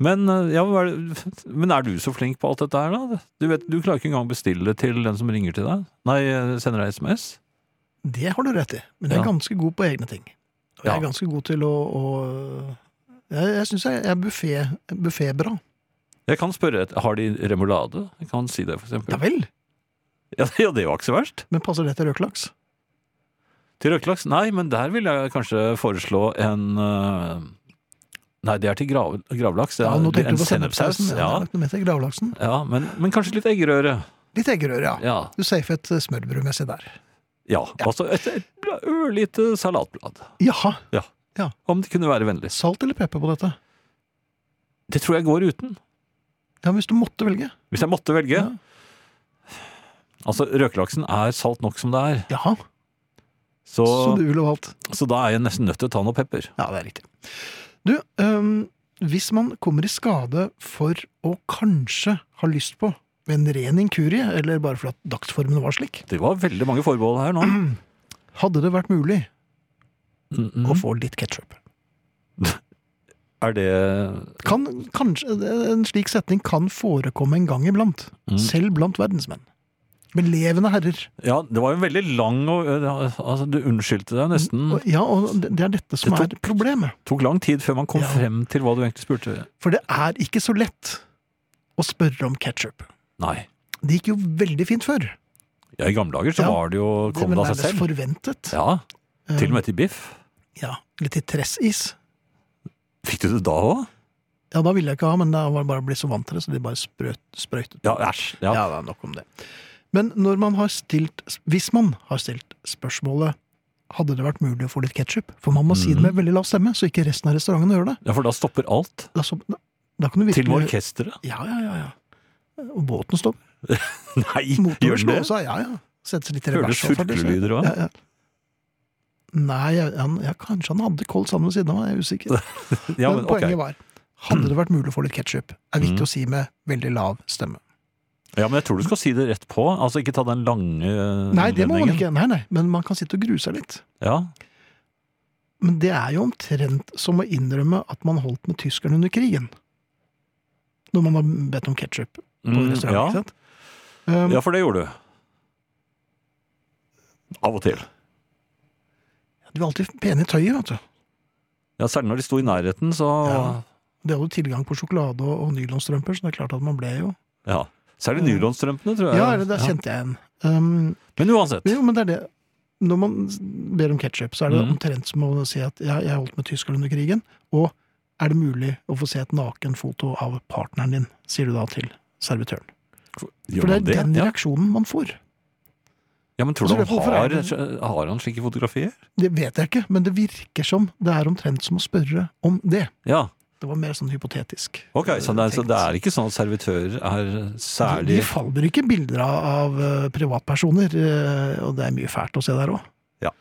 Speaker 3: Men, eh, ja, hva er det- (laughs) men er du så flink på alt dette her, da? Du, vet, du klarer ikke engang å bestille til den som ringer til deg? Nei, eh, sender deg SMS?
Speaker 2: Det har du rett i, men jeg er
Speaker 3: Ja.
Speaker 2: ganske god på egne ting. Og jeg
Speaker 3: Ja.
Speaker 2: er ganske god til å, å Jeg, jeg syns jeg er buffé- buffébra.
Speaker 3: Jeg kan spørre et- har de remulade. Jeg kan si det, for
Speaker 2: Ja
Speaker 3: eksempel.
Speaker 2: vel,
Speaker 3: (laughs) Ja, ja, det var ikke så verst.
Speaker 2: men passer det til røkelaks?
Speaker 3: Til røkelaks? Nei, men der vil jeg kanskje foreslå en eh, Nei, det er til grav, gravlaks. Det er
Speaker 2: Ja, nå tenker
Speaker 3: en
Speaker 2: du på sennepssausen. Ja, det
Speaker 3: Ja,
Speaker 2: er nok noe med til gravlaksen.
Speaker 3: ja men, men kanskje litt eggerøre.
Speaker 2: Litt eggerøre, ja.
Speaker 3: Ja.
Speaker 2: Du safet eh, smørbrødmessig der.
Speaker 3: ja. Altså et, et bla- ørlite salatblad.
Speaker 2: Jaha.
Speaker 3: Om det kunne være vennlig.
Speaker 2: Salt eller pepper på dette?
Speaker 3: Det tror jeg går uten.
Speaker 2: Ja, Hvis du måtte velge.
Speaker 3: Hvis jeg måtte velge.
Speaker 2: Ja.
Speaker 3: Altså, røkelaksen er salt nok som det er.
Speaker 2: Jaha.
Speaker 3: Så,
Speaker 2: Så du ville valgt
Speaker 3: så da er jeg nesten nødt til å ta noe pepper.
Speaker 2: Ja, det er riktig. Du, øhm, hvis man kommer i skade for å kanskje ha lyst på ved en ren inkurie, eller bare for at dagsformen var slik,
Speaker 3: Det var veldig mange forbehold
Speaker 2: (clears throat)
Speaker 3: her nå.
Speaker 2: hadde det vært mulig
Speaker 3: Mm,
Speaker 2: å
Speaker 3: mm.
Speaker 2: få litt ketsjup?
Speaker 3: Er det
Speaker 2: Kan, kanskje, en slik setning kan forekomme en gang iblant,
Speaker 3: Mm.
Speaker 2: selv blant verdensmenn. Med levende herrer.
Speaker 3: Ja, det var jo veldig lang og altså, Du unnskyldte deg nesten.
Speaker 2: Og, ja, og det det er dette som
Speaker 3: Det
Speaker 2: er problemet.
Speaker 3: tok lang tid før man kom
Speaker 2: Ja.
Speaker 3: frem til hva du egentlig spurte.
Speaker 2: For det er ikke så lett å spørre om ketsjup.
Speaker 3: Nei.
Speaker 2: Det gikk jo veldig fint før.
Speaker 3: Ja, I gamle dager så
Speaker 2: Ja.
Speaker 3: var det jo kom det
Speaker 2: men
Speaker 3: av
Speaker 2: nærmest
Speaker 3: seg selv.
Speaker 2: forventet.
Speaker 3: Ja, Til og med til biff.
Speaker 2: Ja, Litt til tressis.
Speaker 3: Fikk du det da òg?
Speaker 2: Ja, da ville jeg ikke ha, men da var det bare blitt så vant til det, så de bare sprøt, sprøytet.
Speaker 3: Ja, æsj. Ja.
Speaker 2: ja, det er nok om det. Men når man har stilt, hvis man har stilt spørsmålet hadde det vært mulig å få litt ketsjup? For man må si
Speaker 3: Mhm.
Speaker 2: det med veldig lav stemme, så ikke resten av restauranten hører det.
Speaker 3: ja, for da stopper alt.
Speaker 2: Da, så, da, da kan du virkelig
Speaker 3: Til med orkesteret. (laughs)
Speaker 2: Ja, ja, ja. ja. Og båten stopper.
Speaker 3: Nei,
Speaker 2: Motoren
Speaker 3: gjør
Speaker 2: slår
Speaker 3: den det?
Speaker 2: seg. Ja, ja. Setter seg litt i
Speaker 3: Hører du
Speaker 2: revers. og ferdig, så-
Speaker 3: surklelyder òg?
Speaker 2: Ja, ja. Nei, jeg, han, ja, kanskje han hadde kold sand ved siden av meg, jeg er usikker.
Speaker 3: Ja,
Speaker 2: men,
Speaker 3: men ok.
Speaker 2: poenget var, hadde det vært mulig å få litt ketsjup? Er viktig å
Speaker 3: Mm.
Speaker 2: si med veldig lav stemme.
Speaker 3: Ja, men jeg tror du skal si det rett på. Altså, ikke ta den lange eh,
Speaker 2: Nei, det må man
Speaker 3: innledningen.
Speaker 2: ikke. Nei, nei. Men man kan sitte og grue seg litt.
Speaker 3: Ja.
Speaker 2: Men det er jo omtrent som å innrømme at man holdt med tyskerne under krigen. Når man har bedt om ketsjup på
Speaker 3: Mm,
Speaker 2: restaurant.
Speaker 3: ja.
Speaker 2: ikke sant? Um,
Speaker 3: ja, for det gjorde du. Av og til.
Speaker 2: De var alltid pene i tøyet, vet du.
Speaker 3: Ja, Særlig når de sto i nærheten, så ja.
Speaker 2: Ja. De hadde jo tilgang på sjokolade og, og nylonstrømper, så det er klart at man ble jo
Speaker 3: Særlig nylonstrømpene, tror jeg.
Speaker 2: Ja, eller der kjente jeg en. Um,
Speaker 3: Men uansett.
Speaker 2: jo, men det er det. Når man ber om ketsjup, så er det
Speaker 3: Mm.
Speaker 2: omtrent som å si at jeg, jeg holdt med tyskerne under krigen, og er det mulig å få se et nakenfoto av partneren din, sier du da til servitøren. For det
Speaker 3: Gjør man
Speaker 2: er
Speaker 3: det?
Speaker 2: den
Speaker 3: Ja.
Speaker 2: reaksjonen man får.
Speaker 3: ja, men tror
Speaker 2: Altså,
Speaker 3: du
Speaker 2: det er hvorfor
Speaker 3: han har,
Speaker 2: er
Speaker 3: har han slike fotografier?
Speaker 2: Det vet jeg ikke, men det virker som det er omtrent som å spørre om det.
Speaker 3: Ja.
Speaker 2: Det var mer sånn hypotetisk.
Speaker 3: Ok, så det, er, så
Speaker 2: tenkt.
Speaker 3: det er ikke sånn at servitører er
Speaker 2: De
Speaker 3: særlig
Speaker 2: faller ikke bilder av, av eh, privatpersoner, eh, og det er mye fælt å se der òg.
Speaker 3: Ja.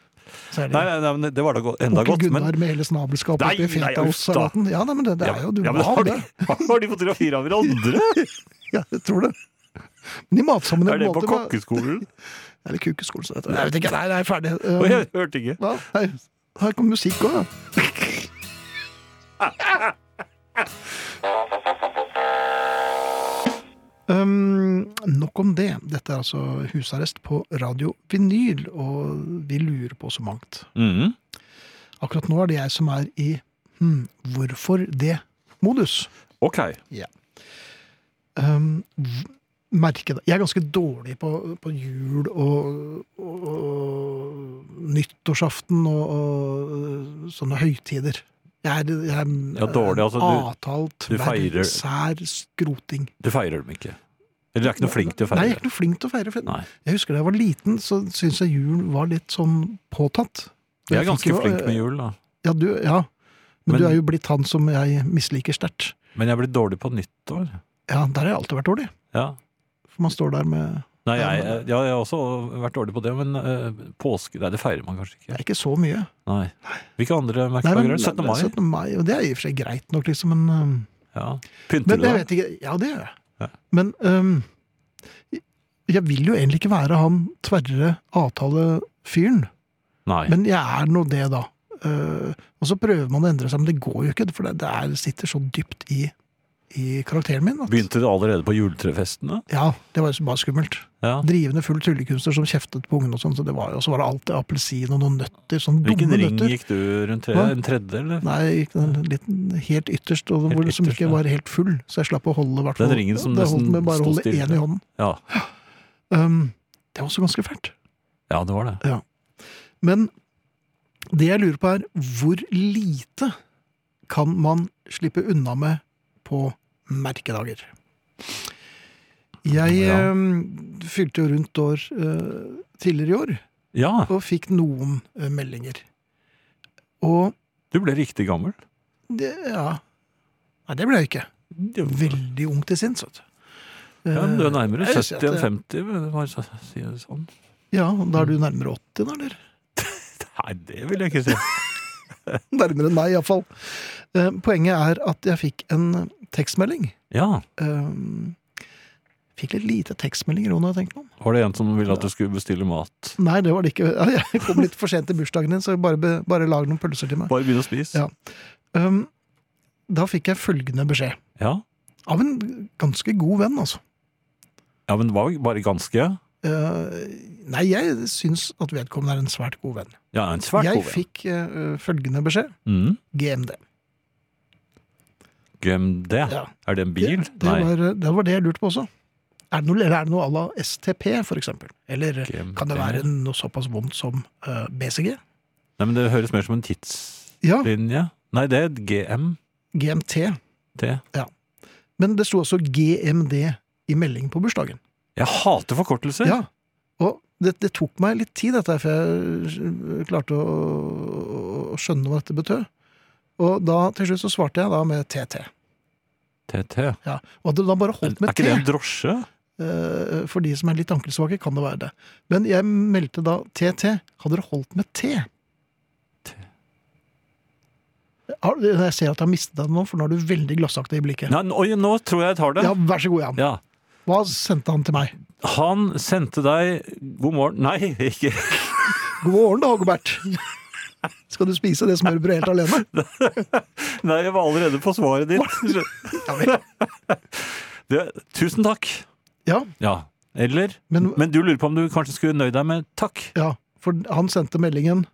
Speaker 2: Særlig
Speaker 3: Nei, nei, nei, men det var da go- enda
Speaker 2: onkel
Speaker 3: godt. Men,
Speaker 2: Gunnar med hele snabelskapet
Speaker 3: Nei,
Speaker 2: oppi
Speaker 3: nei, uff da.
Speaker 2: fetaostsalaten. Ja, nei, men det, det
Speaker 3: Ja,
Speaker 2: er jo du
Speaker 3: ja, men
Speaker 2: må ha
Speaker 3: har,
Speaker 2: det.
Speaker 3: de, (laughs) har de fotografier av hverandre?
Speaker 2: (laughs) Ja, jeg tror det. Men i matsammenheng
Speaker 3: Er det på
Speaker 2: måtte man-
Speaker 3: kokkeskolen?
Speaker 2: Eller kukeskolen, som det heter. Nei, Jeg vet ikke. Nei, nei, ferdig.
Speaker 3: Og
Speaker 2: Um,
Speaker 3: jeg hørte ikke.
Speaker 2: hva? Nei, her kommer musikk òg, da. Um, nok om det. Dette er altså husarrest på radio vinyl, og vi lurer på så mangt.
Speaker 3: Mhm.
Speaker 2: Akkurat nå er det jeg som er i hm, hvorfor det-modus.
Speaker 3: Ok.
Speaker 2: um, v- merke det. Jeg er ganske dårlig på, på jul og, og, og nyttårsaften og, og sånne høytider. Jeg er, jeg er
Speaker 3: Ja, dårlig, altså, du-
Speaker 2: avtalt,
Speaker 3: du feirer-
Speaker 2: sær, skroting.
Speaker 3: Du feirer dem ikke. Eller du er ikke noe flink til
Speaker 2: Nei,
Speaker 3: å
Speaker 2: jeg er
Speaker 3: feire.
Speaker 2: ikke noe flink til å feire. For
Speaker 3: Nei.
Speaker 2: jeg husker da jeg var liten, så syntes jeg jul var litt sånn påtatt.
Speaker 3: Jeg er ganske
Speaker 2: fikk jo,
Speaker 3: flink
Speaker 2: eh,
Speaker 3: med jul, da.
Speaker 2: Ja, du, ja. Men,
Speaker 3: Men-
Speaker 2: du er jo blitt han som jeg misliker sterkt.
Speaker 3: Men jeg blir dårlig på nyttår.
Speaker 2: Ja, der har jeg alltid vært dårlig.
Speaker 3: Ja.
Speaker 2: For man står der med
Speaker 3: Nei,
Speaker 2: Ja,
Speaker 3: jeg,
Speaker 2: men-
Speaker 3: jeg, jeg har også vært dårlig på det, men eh, påske Nei, det feirer man kanskje
Speaker 2: Det
Speaker 3: ikke.
Speaker 2: er ikke så mye.
Speaker 3: Nei. Hvilke
Speaker 2: Nei,
Speaker 3: andre
Speaker 2: men-
Speaker 3: merkedager er det? 17. mai?
Speaker 2: 17. mai, og det er i og for seg greit nok, liksom, men, øhm,
Speaker 3: Ja.
Speaker 2: men
Speaker 3: Pynter du
Speaker 2: jeg
Speaker 3: deg?
Speaker 2: vet ikke, Ja, det gjør jeg.
Speaker 3: Ja.
Speaker 2: Men øhm, jeg- jeg vil jo egentlig ikke være han tverre avtalefyren,
Speaker 3: Nei.
Speaker 2: men jeg er nå det, da. Uh, Øh, og så prøver man å endre seg, men det går jo ikke, for det, det er, sitter så dypt i i karakteren min. At,
Speaker 3: Begynte det allerede på juletrefestene?
Speaker 2: Ja, det var jo bare skummelt.
Speaker 3: Ja.
Speaker 2: Drivende full tryllekunstner som kjeftet på ungene og sånn, så det var jo, og så var det alltid appelsin og noen nøtter, sånn
Speaker 3: Hvilken
Speaker 2: dumme
Speaker 3: ring
Speaker 2: nøtter.
Speaker 3: gikk du rundt? Tre,
Speaker 2: Hva?
Speaker 3: en tredje, eller?
Speaker 2: Nei, jeg gikk den litt, helt ytterst, og
Speaker 3: Helt
Speaker 2: hvor som
Speaker 3: ytterst,
Speaker 2: ikke
Speaker 3: ja.
Speaker 2: var helt full, så jeg slapp å holde hvert
Speaker 3: Den
Speaker 2: fall-
Speaker 3: ringen som
Speaker 2: det
Speaker 3: nesten
Speaker 2: holdt med bare å
Speaker 3: sto
Speaker 2: holde
Speaker 3: stille.
Speaker 2: én i hånden.
Speaker 3: Ja.
Speaker 2: Um, det var også ganske fælt.
Speaker 3: ja, det var det.
Speaker 2: Men det jeg lurer på er, hvor lite kan man slippe unna med på merkedager? Jeg
Speaker 3: Ja.
Speaker 2: um, fylte jo rundt år eh, tidligere i år,
Speaker 3: Ja,
Speaker 2: og fikk noen eh, meldinger. Og
Speaker 3: du ble riktig gammel.
Speaker 2: det, ja Nei, det ble jeg ikke. Veldig ung til sinns, vet du. Eh,
Speaker 3: Ja, men du er nærmere
Speaker 2: Jeg vil
Speaker 3: 70
Speaker 2: si at
Speaker 3: enn
Speaker 2: det-
Speaker 3: 50, vil jeg bare si det sånn.
Speaker 2: Ja, da er du nærmere 80, da, eller?
Speaker 3: Nei, det vil jeg ikke si.
Speaker 2: Nærmere enn meg, iallfall. Eh, Poenget er at jeg fikk en tekstmelding.
Speaker 3: (laughs) Ja,
Speaker 2: Eh, Fikk litt lite tekstmeldinger òg, når jeg tenker meg om.
Speaker 3: var det en som ville at du skulle bestille mat?
Speaker 2: Nei, det var det ikke. Ja, Jeg kom litt for sent til bursdagen din, så jeg bare, be- bare lag noen pølser til meg.
Speaker 3: Bare begynne å spise?
Speaker 2: Ja. Um, Da fikk jeg følgende beskjed.
Speaker 3: Ja.
Speaker 2: Av en ganske god venn, altså.
Speaker 3: Ja, men det var jo bare ganske Ja,
Speaker 2: Eh, Nei, jeg syns at vedkommende er en svært god venn.
Speaker 3: en svært
Speaker 2: jeg
Speaker 3: god venn.
Speaker 2: fikk eh, følgende beskjed.
Speaker 3: Mm.
Speaker 2: GMD.
Speaker 3: Glem det.
Speaker 2: Ja.
Speaker 3: Er det en bil?
Speaker 2: Det, det, var, eh, det var det jeg lurte på også. Er det noe, eller er det noe à la STP, for eksempel? Eller eh,
Speaker 3: GMD.
Speaker 2: kan det være noe såpass vondt som eh, BCG?
Speaker 3: Nei, men det høres mer som en
Speaker 2: Ja.
Speaker 3: tidslinje. Nei, det er GMT.
Speaker 2: GMT. Men det sto også GMD i melding på bursdagen.
Speaker 3: Jeg hater forkortelser!
Speaker 2: Ja. Og det, det tok meg litt tid, dette, her, før jeg eh, klarte å, å- å skjønne hva dette betød. Og da, til slutt så svarte jeg da med TT.
Speaker 3: TT.
Speaker 2: Ja. Og hadde da bare
Speaker 3: Er
Speaker 2: holdt med
Speaker 3: ikke det
Speaker 2: T.
Speaker 3: en drosje?
Speaker 2: Eh, For de som er litt ankelsvake, kan det være det. Men jeg meldte da TT. Hadde dere holdt med T? Har- Jeg ser at jeg har mistet deg nå, for nå er du veldig glassaktig i blikket.
Speaker 3: Nei, oi, nå tror jeg jeg tar det.
Speaker 2: Ja, Vær så god, Jan.
Speaker 3: Ja.
Speaker 2: Hva sendte han til meg?
Speaker 3: Han sendte deg God morgen Nei, ikke
Speaker 2: God morgen, da, Hågebert.
Speaker 3: (laughs)
Speaker 2: Skal du spise det smørbrødet helt alene?
Speaker 3: Nei, jeg var allerede på svaret ditt.
Speaker 2: Ja, vel.
Speaker 3: Det, tusen takk.
Speaker 2: ja,
Speaker 3: Ja. Eller
Speaker 2: men,
Speaker 3: Men du lurer på om du kanskje skulle nøyd deg med takk.
Speaker 2: ja, for han sendte meldingen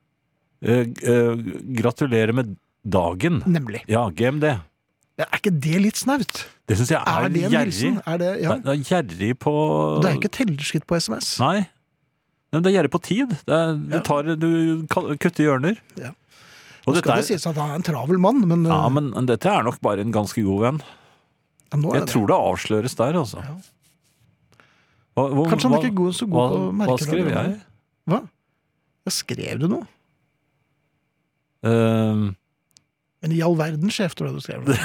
Speaker 3: Eh, eh, gratulerer med dagen.
Speaker 2: nemlig.
Speaker 3: Ja, GMD.
Speaker 2: Ja, Er ikke det litt snaut?
Speaker 3: Det syns jeg er,
Speaker 2: Er det en
Speaker 3: gjerrig.
Speaker 2: hilsen? Er det, ja.
Speaker 3: Det er gjerrig på
Speaker 2: Det er ikke tellerskritt på SMS.
Speaker 3: Nei. Nei, men det er gjerrig på tid. Det er, du, tar, du kan- kutter hjørner.
Speaker 2: Ja. Nå
Speaker 3: Og dette
Speaker 2: skal det
Speaker 3: er,
Speaker 2: sies at han er en travel mann, men,
Speaker 3: ja,
Speaker 2: eh,
Speaker 3: men dette er nok bare en ganske god venn.
Speaker 2: ja, nå er
Speaker 3: Jeg
Speaker 2: det det.
Speaker 3: tror det avsløres der, altså.
Speaker 2: Ja.
Speaker 3: Hva- hvor-
Speaker 2: Kanskje han
Speaker 3: hva-
Speaker 2: ikke er god, så god på
Speaker 3: hva, hva
Speaker 2: merkedager,
Speaker 3: skrev
Speaker 2: da?
Speaker 3: jeg?
Speaker 2: Hva? Ja, skrev du noe?
Speaker 3: (laughs) Ehm,
Speaker 2: Men i all verden, sjef, tror jeg du skrev. Det.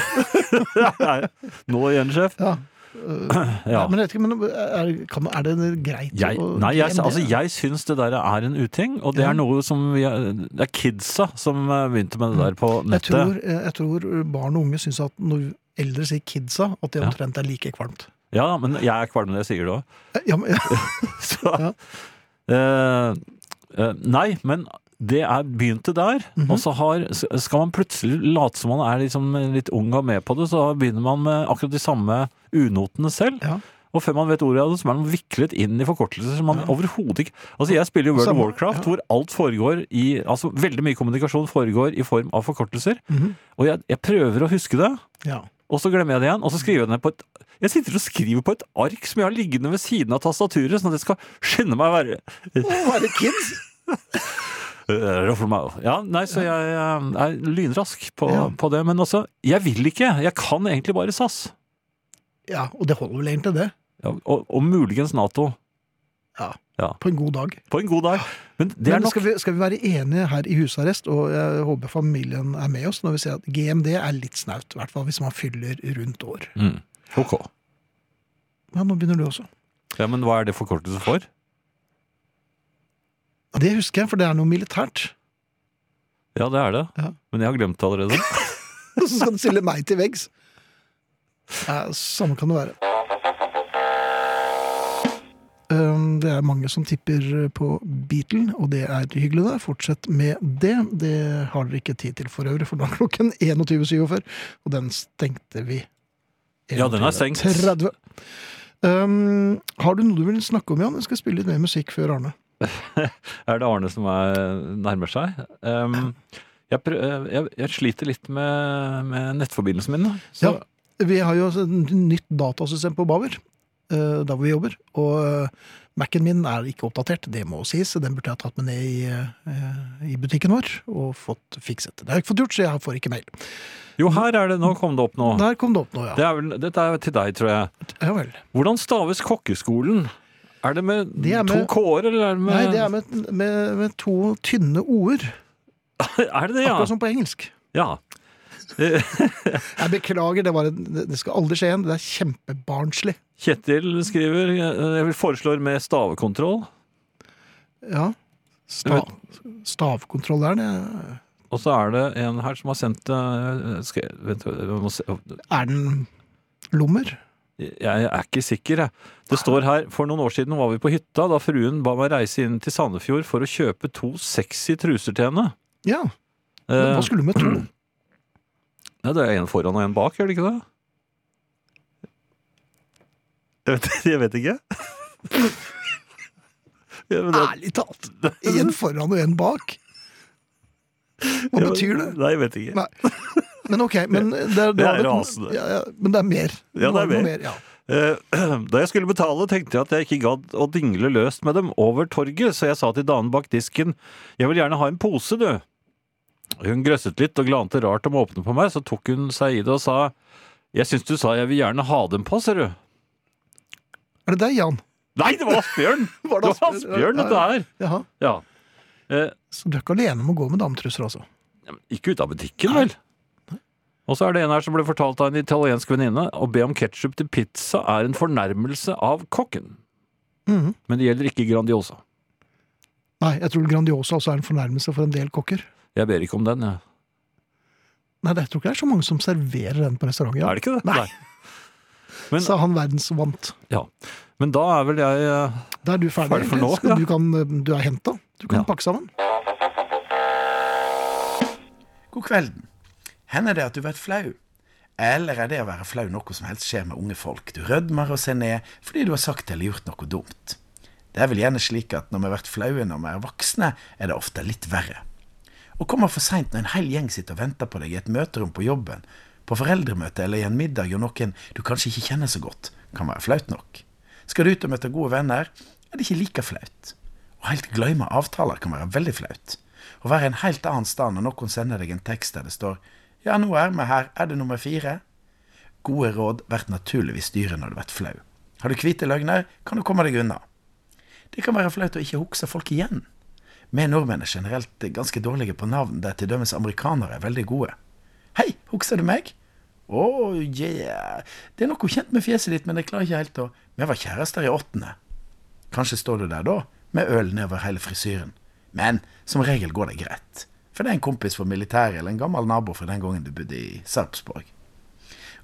Speaker 3: nei, nå igjen, sjef. (clears throat)
Speaker 2: Ja.
Speaker 3: (laughs)
Speaker 2: Nei,
Speaker 3: Ja.
Speaker 2: men jeg vet ikke, men er, kan, er det greit
Speaker 3: Jeg,
Speaker 2: å
Speaker 3: nei, jeg,
Speaker 2: GMD?
Speaker 3: altså, jeg syns det der er en uting, og det
Speaker 2: Ja.
Speaker 3: er noe som vi, er- Det er kidsa som eh, begynte med det der på
Speaker 2: jeg tror, eh,
Speaker 3: nettet.
Speaker 2: jeg tror barn og unge syns at når eldre sier 'kidsa', at det
Speaker 3: Ja.
Speaker 2: omtrent er like kvalmt. Eh,
Speaker 3: Ja, men jeg er kvalm når jeg sier det òg.
Speaker 2: Ja, men, (laughs)
Speaker 3: (laughs) Så eh, eh, Nei, men det er begynte der,
Speaker 2: Mhm.
Speaker 3: og så har, s- skal man plutselig late som man er liksom litt ung og med på det, så begynner man med akkurat de samme unotene selv.
Speaker 2: Ja.
Speaker 3: Og før man vet ordet av det, så er man viklet inn i forkortelser som man overhodet ikke Altså, jeg spiller jo World of
Speaker 2: Samme,
Speaker 3: Warcraft, hvor alt foregår i Altså, veldig mye kommunikasjon foregår i form av forkortelser.
Speaker 2: Mhm.
Speaker 3: Og jeg, jeg prøver å huske det,
Speaker 2: ja.
Speaker 3: og så glemmer jeg det igjen, og så skriver jeg det ned på et Jeg sitter og skriver på et ark som jeg har liggende ved siden av tastaturet, sånn at jeg skal skynde meg å være
Speaker 2: Å, er det
Speaker 3: (laughs)
Speaker 2: kids?
Speaker 3: Øh, ruffle meg. Ja, nei, så jeg øh, er lynrask på,
Speaker 2: Ja.
Speaker 3: på det. Men også, jeg vil ikke. Jeg kan egentlig bare SAS.
Speaker 2: Ja, og det holder vel egentlig, det.
Speaker 3: Ja, og, og muligens Nato.
Speaker 2: På en god dag.
Speaker 3: På en god dag. Men det er
Speaker 2: Men
Speaker 3: nok
Speaker 2: skal vi, skal vi være enige her i husarrest, og jeg håper familien er med oss når vi sier at GMD er litt snaut, i hvert fall hvis man fyller rundt år.
Speaker 3: mm. Ok.
Speaker 2: Ja, nå begynner du også.
Speaker 3: Ja, men hva er det forkortelse for?
Speaker 2: Ja, Det husker jeg, for det er noe militært.
Speaker 3: Ja, det er det.
Speaker 2: Ja.
Speaker 3: Men jeg har glemt det allerede.
Speaker 2: (laughs) Og så skal du stille meg til veggs. Ja, samme kan det være. Um, Det er mange som tipper på Beatle, og det er hyggelig. det. Fortsett med det. Det har dere ikke tid til for øvrig, for nå er klokken 21.47, og den stengte vi
Speaker 3: Ja, den er stengt.
Speaker 2: 30. Um, har du noe du vil snakke om, Jan? Jeg skal spille litt mer musikk før Arne.
Speaker 3: Er det Arne som er, nærmer seg? Ehm, jeg, prø jeg, jeg sliter litt med, med nettforbindelsen min. da. Så,
Speaker 2: Ja. Vi har jo et nytt datasystem på Baver, eh, der hvor vi jobber. Og eh, Mac-en min er ikke oppdatert, det må sies. så Den burde jeg ha tatt med ned i, eh, i butikken vår og fått fikset. Det har jeg ikke fått gjort, så jeg får ikke mail.
Speaker 3: Jo, her er det. Nå kom det opp nå.
Speaker 2: Der kom det opp nå, ja.
Speaker 3: Det er vel, dette er til deg, tror jeg.
Speaker 2: Ja vel.
Speaker 3: Hvordan staves kokkeskolen? Er det med,
Speaker 2: Det er
Speaker 3: to
Speaker 2: med-
Speaker 3: k-er, eller er det med
Speaker 2: Nei, det er med, med, med to tynne o-er.
Speaker 3: (laughs) Er det det, ja?
Speaker 2: Akkurat som på engelsk.
Speaker 3: ja. Eh,
Speaker 2: Jeg beklager, det, var en, det det skal aldri skje igjen. Det er kjempebarnslig.
Speaker 3: Kjetil skriver eh, Jeg foreslår med stavekontroll.
Speaker 2: Ja. Stav, stavkontroll er det.
Speaker 3: Og så er det en her som har sendt eh, skal, jeg- vent, jeg, må se,
Speaker 2: Er den lommer?
Speaker 3: Jeg er ikke sikker, jeg. Det står her For noen år siden var vi på hytta da fruen ba meg reise inn til Sandefjord for å kjøpe to sexy truser til henne.
Speaker 2: Ja. Men
Speaker 3: Eh,
Speaker 2: hva skulle du med to?
Speaker 3: ja, det er en foran og en bak, gjør det ikke det? Jeg vet, (laughs) jeg vet ikke. Ja, men (laughs) det-
Speaker 2: Ærlig talt. Én foran og én bak. Hva
Speaker 3: ja,
Speaker 2: betyr det?
Speaker 3: Nei, jeg vet ikke.
Speaker 2: Nei. Men ok,
Speaker 3: (laughs)
Speaker 2: men det er,
Speaker 3: Det er
Speaker 2: det var-
Speaker 3: rasende.
Speaker 2: Ja, ja, men det er mer.
Speaker 3: Ja, det
Speaker 2: Nå
Speaker 3: er
Speaker 2: noe
Speaker 3: mer.
Speaker 2: ja.
Speaker 3: Eh, (clears throat) Da jeg skulle betale, tenkte jeg at jeg ikke gadd å dingle løst med dem over torget, så jeg sa til damen bak disken 'Jeg vil gjerne ha en pose, du'. Hun grøsset litt og glante rart om å åpne på meg, så tok hun seg i det og sa 'Jeg syns du sa jeg vil gjerne ha dem på, ser du'.
Speaker 2: Er det deg, Jan?
Speaker 3: Nei, det var Asbjørn!
Speaker 2: (laughs) Var
Speaker 3: det
Speaker 2: det
Speaker 3: var
Speaker 2: Asbjørn?
Speaker 3: Asbjørn, dette her.
Speaker 2: Jaha.
Speaker 3: Ja. Eh,
Speaker 2: Så du er ikke alene om å gå med dametruser, altså?
Speaker 3: Ikke ut av butikken, vel? Og så er det en her som ble fortalt av en italiensk venninne å be om ketsjup til pizza er en fornærmelse av kokken.
Speaker 2: Mhm.
Speaker 3: Men det gjelder ikke Grandiosa.
Speaker 2: Nei, jeg tror Grandiosa også er en fornærmelse for en del kokker.
Speaker 3: Jeg ber ikke om den, jeg.
Speaker 2: Nei, det- jeg tror ikke det er så mange som serverer den på restauranten. Ja.
Speaker 3: Er det ikke det?
Speaker 2: Nei.
Speaker 3: Men,
Speaker 2: Sa han verdensvant.
Speaker 3: ja. Men da er vel jeg eh,
Speaker 2: Da er du ferdig.
Speaker 3: Ferdig for nå,
Speaker 2: Skal-
Speaker 3: ja.
Speaker 2: du, kan, du er henta. Du kan
Speaker 3: Ja.
Speaker 2: pakke sammen.
Speaker 4: God kvelden. Hender det at du blir flau? Eller er det å være flau noe som helst skjer med unge folk? Du rødmer og ser ned fordi du har sagt eller gjort noe dumt. Det er vel gjerne slik at når vi blir flaue når vi er voksne, er det ofte litt verre. Å komme for seint når en hel gjeng sitter og venter på deg i et møterom på jobben, på foreldremøte eller i en middag og noen du kanskje ikke kjenner så godt, kan være flaut nok. Skal du ut og møte gode venner, er det ikke like flaut. Å helt glemme avtaler kan være veldig flaut. Å være en helt annen sted når noen sender deg en tekst der det står 'Ja, nå er vi her, er det nummer fire?' Gode råd blir naturligvis dyre når du blir flau. Har du hvite løgner, kan du komme deg unna. Det kan være flaut å ikke huske folk igjen. Vi nordmenn er generelt ganske dårlige på navn, der til dømes amerikanere er veldig gode. Hei, husker du meg? Å, yeah. Det er noe kjent med fjeset ditt, men jeg klarer ikke helt å Vi var kjærester i åttende. Kanskje står du der da, med øl nedover hele frisyren. Men som regel går det greit. For det er en kompis fra militæret eller en gammel nabo fra den gangen du bodde i Sarpsborg.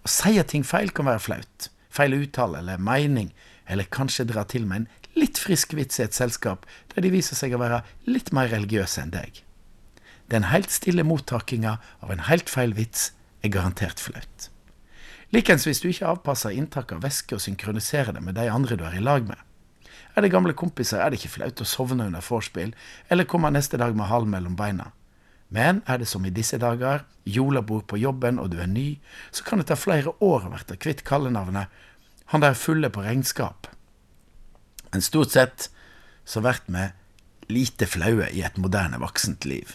Speaker 4: Å si at ting feil kan være flaut. Feil uttale eller mening, eller kanskje dra til med en litt frisk vits i et selskap der de viser seg å være litt mer religiøse enn deg. Den helt stille mottakinga av en helt feil vits er garantert flaut. Likens hvis du ikke avpasser inntak av væske og synkroniserer det med de andre du er i lag med. Er det gamle kompiser, er det ikke flaut å sovne under vorspiel, eller komme neste dag med halen mellom beina. Men er det som i disse dager, julebord på jobben og du er ny, så kan det ta flere år å bli kvitt kallenavnet Han der fulle på regnskap. Men stort sett så blir vi lite flaue i et moderne voksent liv.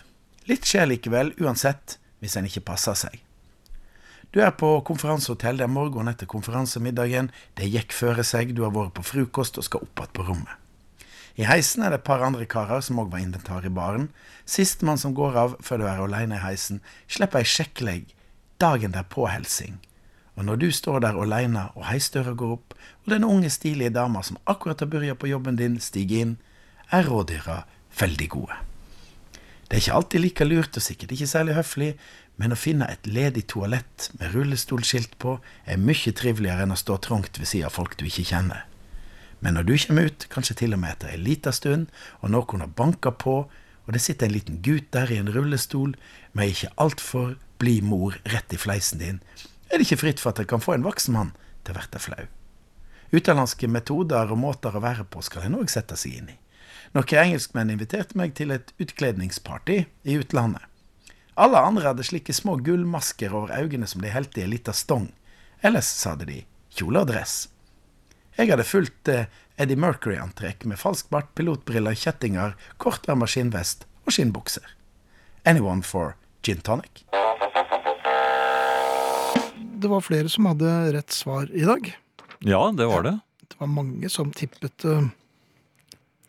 Speaker 4: Litt skjer likevel, uansett, hvis en ikke passer seg. Du er på konferansehotell, det er morgen etter konferansemiddagen, det gikk føre seg, du har vært på frokost og skal opp igjen på rommet. I heisen er det et par andre karer som òg var inventar i baren. Sistemann som går av før du er aleine i heisen, slipper ei sjekklegg dagen der påhelsing. Og når du står der aleine og heisdøra går opp, og den unge, stilige dama som akkurat har begynt på jobben din, stiger inn, er rådyra veldig gode. Det er ikke alltid like lurt og sikkert ikke særlig høflig, men å finne et ledig toalett med rullestolskilt på er mye triveligere enn å stå trangt ved siden av folk du ikke kjenner. Men når du kommer ut, kanskje til og med etter en liten stund, og noen har banka på, og det sitter en liten gutt der i en rullestol med ei ikke altfor blid mor rett i fleisen din, er det ikke fritt for at jeg kan få en voksen mann til å bli flau. Utenlandske metoder og måter å være på skal en òg sette seg inn i. Noen engelskmenn inviterte meg til et utkledningsparty i utlandet. Alle andre hadde slike små gullmasker over øynene som de helte i ei lita stong. Ellers, sade de, kjole og dress. Jeg hadde fulgt eh, Eddie Mercury-antrekk med falsk bart, pilotbriller, kjettinger, kortermet skinnvest og skinnbukser. Anyone for gin tonic?
Speaker 2: Det var flere som hadde rett svar i dag.
Speaker 3: Ja, det var det.
Speaker 2: Det var mange som tippet eh,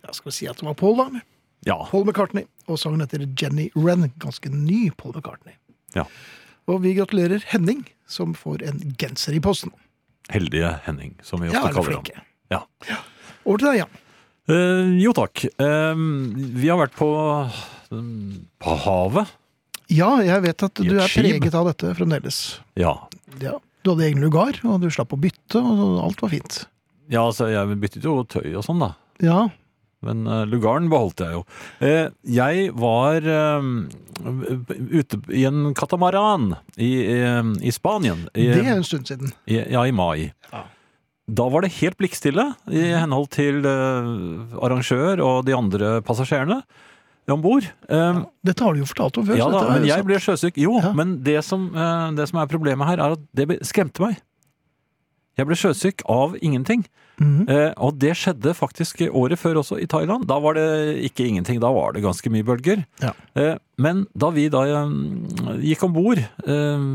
Speaker 2: ja, Skal vi si at det var Paul, da? eller?
Speaker 3: Ja.
Speaker 2: Paul McCartney. Og sangen heter Jenny Wren. Ganske ny Paul McCartney.
Speaker 3: ja.
Speaker 2: Og vi gratulerer Henning, som får en genser i posten.
Speaker 3: Heldige Henning, som vi
Speaker 2: Ja,
Speaker 3: ofte
Speaker 2: eller
Speaker 3: kaller ham.
Speaker 2: flinke.
Speaker 3: Ja.
Speaker 2: Over til deg, Jan.
Speaker 3: Eh, jo takk. Eh, vi har vært på, mm, på havet.
Speaker 2: Ja, jeg vet at
Speaker 3: I
Speaker 2: du
Speaker 3: et
Speaker 2: er
Speaker 3: skip.
Speaker 2: preget av dette fremdeles.
Speaker 3: Ja.
Speaker 2: Ja. Du hadde egen lugar, og du slapp å bytte, og alt var fint.
Speaker 3: ja, altså jeg byttet jo tøy og sånn, da.
Speaker 2: Ja,
Speaker 3: Men eh, lugaren beholdt jeg jo. Eh, jeg var eh, ute i en katamaran i, eh, i Spanien. I, eh,
Speaker 2: det er en stund siden.
Speaker 3: i, ja, i mai. Da var det helt blikkstille i henhold til eh, arrangør og de andre passasjerene om bord. Eh,
Speaker 2: Dette har du jo fortalt om før.
Speaker 3: ja
Speaker 2: så
Speaker 3: da,
Speaker 2: dette er
Speaker 3: men
Speaker 2: jo
Speaker 3: jeg
Speaker 2: sant.
Speaker 3: ble sjøsyk. Jo,
Speaker 2: Ja.
Speaker 3: men det som, eh, det som er problemet her, er at det be- skremte meg. Jeg ble sjøsyk av ingenting.
Speaker 2: Mhm.
Speaker 3: Eh, og det skjedde faktisk året før også, i Thailand. Da var det ikke ingenting, da var det ganske mye bølger.
Speaker 2: Ja.
Speaker 3: Eh, men da vi da eh, gikk om bord eh,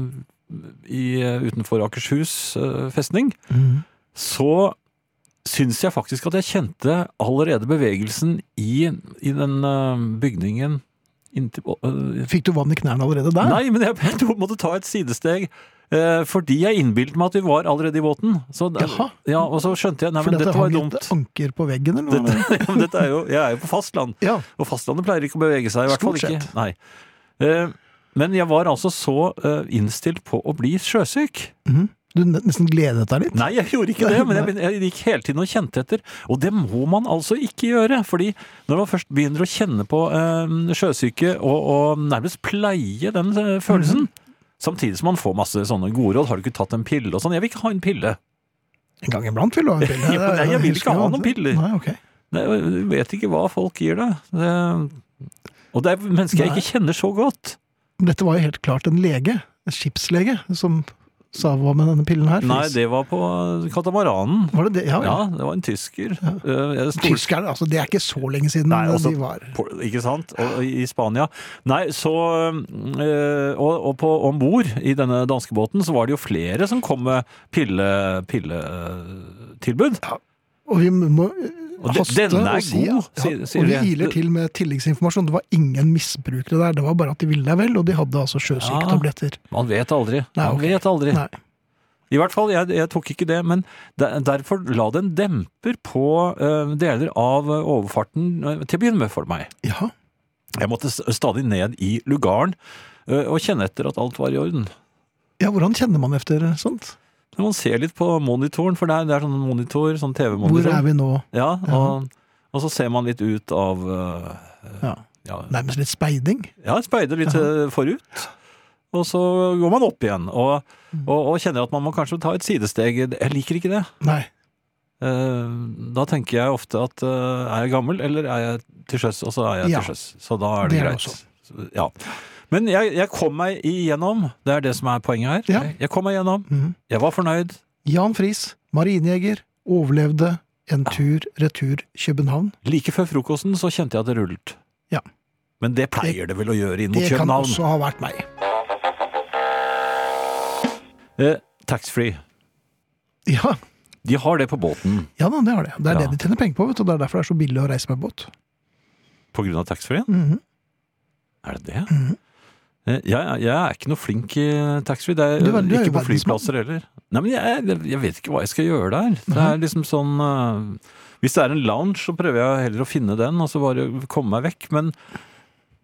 Speaker 3: i, eh, utenfor Akershus eh, festning,
Speaker 2: Mhm.
Speaker 3: så syns jeg faktisk at jeg kjente allerede bevegelsen i, i den eh, bygningen inntil, eh,
Speaker 2: Fikk du vann i knærne allerede der?
Speaker 3: Nei, men jeg, jeg tror- måtte ta et sidesteg. eh, fordi jeg innbilte meg at vi var allerede i båten. Så, eh,
Speaker 2: Jaha.
Speaker 3: ja, og så skjønte jeg Nei,
Speaker 2: Fordi
Speaker 3: men
Speaker 2: at
Speaker 3: dette
Speaker 2: det
Speaker 3: var
Speaker 2: hang
Speaker 3: jo
Speaker 2: et
Speaker 3: dumt.
Speaker 2: anker på veggen, eller noe?
Speaker 3: Dette, (laughs) ja, men dette er jo, jeg er jo på fastland,
Speaker 2: Ja.
Speaker 3: og fastlandet pleier ikke å bevege seg. I hvert fall
Speaker 2: Stort
Speaker 3: ikke.
Speaker 2: sett.
Speaker 3: Nei. Eh, men jeg var altså så eh, innstilt på å bli sjøsyk.
Speaker 2: Mhm. Du ne- nesten gledet deg litt?
Speaker 3: Nei, jeg gjorde ikke det, men jeg, begyn- jeg gikk hele tiden og kjente etter. Og det må man altså ikke gjøre, fordi når man først begynner å kjenne på eh, sjøsyke og, og nærmest pleie den
Speaker 2: Mhm.
Speaker 3: eh, følelsen, samtidig som man får masse sånne gode råd, har du ikke tatt en pille og sånn? Jeg vil ikke ha en pille.
Speaker 2: En gang iblant vil du ha
Speaker 3: (laughs)
Speaker 2: en pille.
Speaker 3: Ja, men nei, jeg vil ikke ha noen piller.
Speaker 2: Nei, ok.
Speaker 3: Nei, Du vet ikke hva folk gir deg. Det, og det er mennesker jeg
Speaker 2: Nei.
Speaker 3: ikke kjenner så godt.
Speaker 2: Dette var jo helt klart en lege, en skipslege, som sa hva med denne pillen her?
Speaker 3: Nei, det var på katamaranen.
Speaker 2: Var det det? Ja, ja.
Speaker 3: Ja, det var en tysker. Eh, jeg stod-
Speaker 2: Tyskerne, altså det er ikke så lenge siden
Speaker 3: Nei, altså-
Speaker 2: de var
Speaker 3: på, ikke sant? Og, I Spania. Nei, så øh, Og, og på om bord i denne danskebåten så var det jo flere som kom med pille- pilletilbud.
Speaker 2: Og vi må eh,
Speaker 3: Og de-
Speaker 2: haste
Speaker 3: denne er
Speaker 2: og si
Speaker 3: god,
Speaker 2: ja,
Speaker 3: sier- sier
Speaker 2: Og vi
Speaker 3: vi.
Speaker 2: iler til med tilleggsinformasjon. Det var ingen misbrukere der, det var bare at de ville deg vel, og de hadde altså sjøsyketabletter.
Speaker 3: Man vet aldri.
Speaker 2: Nei,
Speaker 3: Man
Speaker 2: ok.
Speaker 3: vet aldri.
Speaker 2: Nei.
Speaker 3: I hvert fall, jeg, jeg tok ikke det, men der, derfor la det en demper på øh, deler av øh, overfarten øh, til å begynne med for meg.
Speaker 2: Ja.
Speaker 3: Jeg måtte s- stadig ned i lugaren øh, og kjenne etter at alt var i orden.
Speaker 2: ja, hvordan kjenner man efter sånt?
Speaker 3: Så Man ser litt på monitoren, for det er, det er sånn monitor, sånn TV-monitor.
Speaker 2: Hvor er vi nå?
Speaker 3: Ja, og, og så ser man litt ut av øh,
Speaker 2: Ja.
Speaker 3: ja,
Speaker 2: Nærmest litt speiding.
Speaker 3: ja speider litt øh, forut. Og så går man opp igjen og,
Speaker 2: Mm.
Speaker 3: og, og kjenner at man må kanskje ta et sidesteg. Jeg liker ikke det.
Speaker 2: Nei.
Speaker 3: Eh, Da tenker jeg ofte at eh, er jeg gammel, eller er jeg til sjøs? Og så er jeg
Speaker 2: Ja.
Speaker 3: til sjøs. Så da er det,
Speaker 2: Det er det
Speaker 3: greit.
Speaker 2: også.
Speaker 3: Så- Ja. Men jeg, jeg kom meg igjennom. Det er det som er poenget her.
Speaker 2: Ja.
Speaker 3: Jeg, jeg kom meg igjennom.
Speaker 2: Mhm.
Speaker 3: Jeg var fornøyd.
Speaker 2: Jan Friis, marinejeger, overlevde en tur retur København.
Speaker 3: Like før frokosten så kjente jeg at det rullet.
Speaker 2: Ja.
Speaker 3: Men det pleier det vel å gjøre inn mot
Speaker 2: Det kan
Speaker 3: København.
Speaker 2: også ha vært meg.
Speaker 3: Eh, Taxfree.
Speaker 2: Ja,
Speaker 3: De har det på båten.
Speaker 2: ja da, det har det. Det er
Speaker 3: Ja.
Speaker 2: det de tjener penger på, vet du. og Det er derfor det er så billig å reise med båt.
Speaker 3: På grunn av taxfree-en?
Speaker 2: Mhm.
Speaker 3: Er det det? Eh, Jeg, jeg er ikke noe flink i eh, taxfree. Det er,
Speaker 2: Du er- du er jo
Speaker 3: ikke på
Speaker 2: verdensmann.
Speaker 3: flyplasser heller. Nei, men jeg, jeg vet ikke hva jeg skal gjøre der. Det er liksom sånn eh, Hvis det er en lounge, så prøver jeg heller å finne den, og så bare komme meg vekk. Men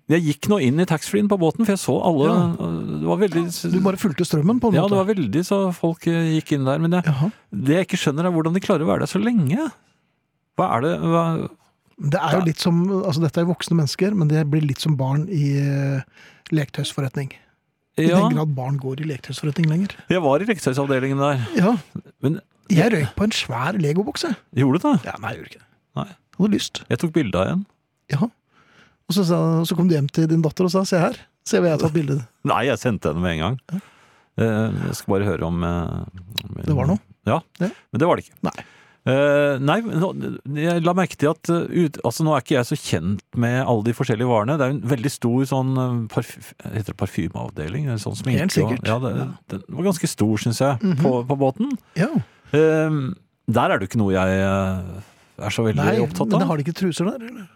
Speaker 3: jeg gikk nå inn i taxfree-en på båten, for jeg så alle
Speaker 2: Ja.
Speaker 3: eh, Det var veldig
Speaker 2: Du bare fulgte strømmen, på en
Speaker 3: Ja,
Speaker 2: måte.
Speaker 3: det var veldig så folk eh, gikk inn der. Men jeg,
Speaker 2: Jaha.
Speaker 3: det jeg ikke skjønner, er hvordan de klarer å være der så lenge. Hva er det hva,
Speaker 2: Det er jo litt som, altså Dette er voksne mennesker, men det blir litt som barn i uh, eh, lektøysforretning. I
Speaker 3: Ja,
Speaker 2: den grad barn går i leketøysforretning lenger.
Speaker 3: jeg var i leketøysavdelingen der.
Speaker 2: Ja,
Speaker 3: Men
Speaker 2: jeg røyk på en svær legoboks, jeg.
Speaker 3: gjorde du det?
Speaker 2: Ja, nei, jeg gjorde ikke det.
Speaker 3: Nei.
Speaker 2: Jeg hadde lyst.
Speaker 3: Jeg tok bilde av en.
Speaker 2: Ja. Og så, sa, så kom du hjem til din datter og sa 'se her, se hva jeg har tatt bilde av'.
Speaker 3: Nei, jeg sendte henne med en gang. Eh, Jeg skal bare høre om eh, om-
Speaker 2: Det var noe?
Speaker 3: Ja,
Speaker 2: Ja.
Speaker 3: men det var det ikke.
Speaker 2: Nei.
Speaker 3: Eh, nei, men nå- jeg la merke til at eh, ut, altså Nå er ikke jeg så kjent med alle de forskjellige varene. Det er jo en veldig stor sånn eh, parf heter det parfymeavdeling. eller Sånn sminke
Speaker 2: Helt
Speaker 3: og-
Speaker 2: sikkert. Mhm.
Speaker 3: Ja, det, Den var ganske stor, syns jeg, på, på båten.
Speaker 2: Ja.
Speaker 3: Eh, der er det jo ikke noe jeg eh, er så veldig
Speaker 2: Nei,
Speaker 3: opptatt
Speaker 2: men
Speaker 3: av.
Speaker 2: det har
Speaker 3: Har...
Speaker 2: de ikke truser der? Eller?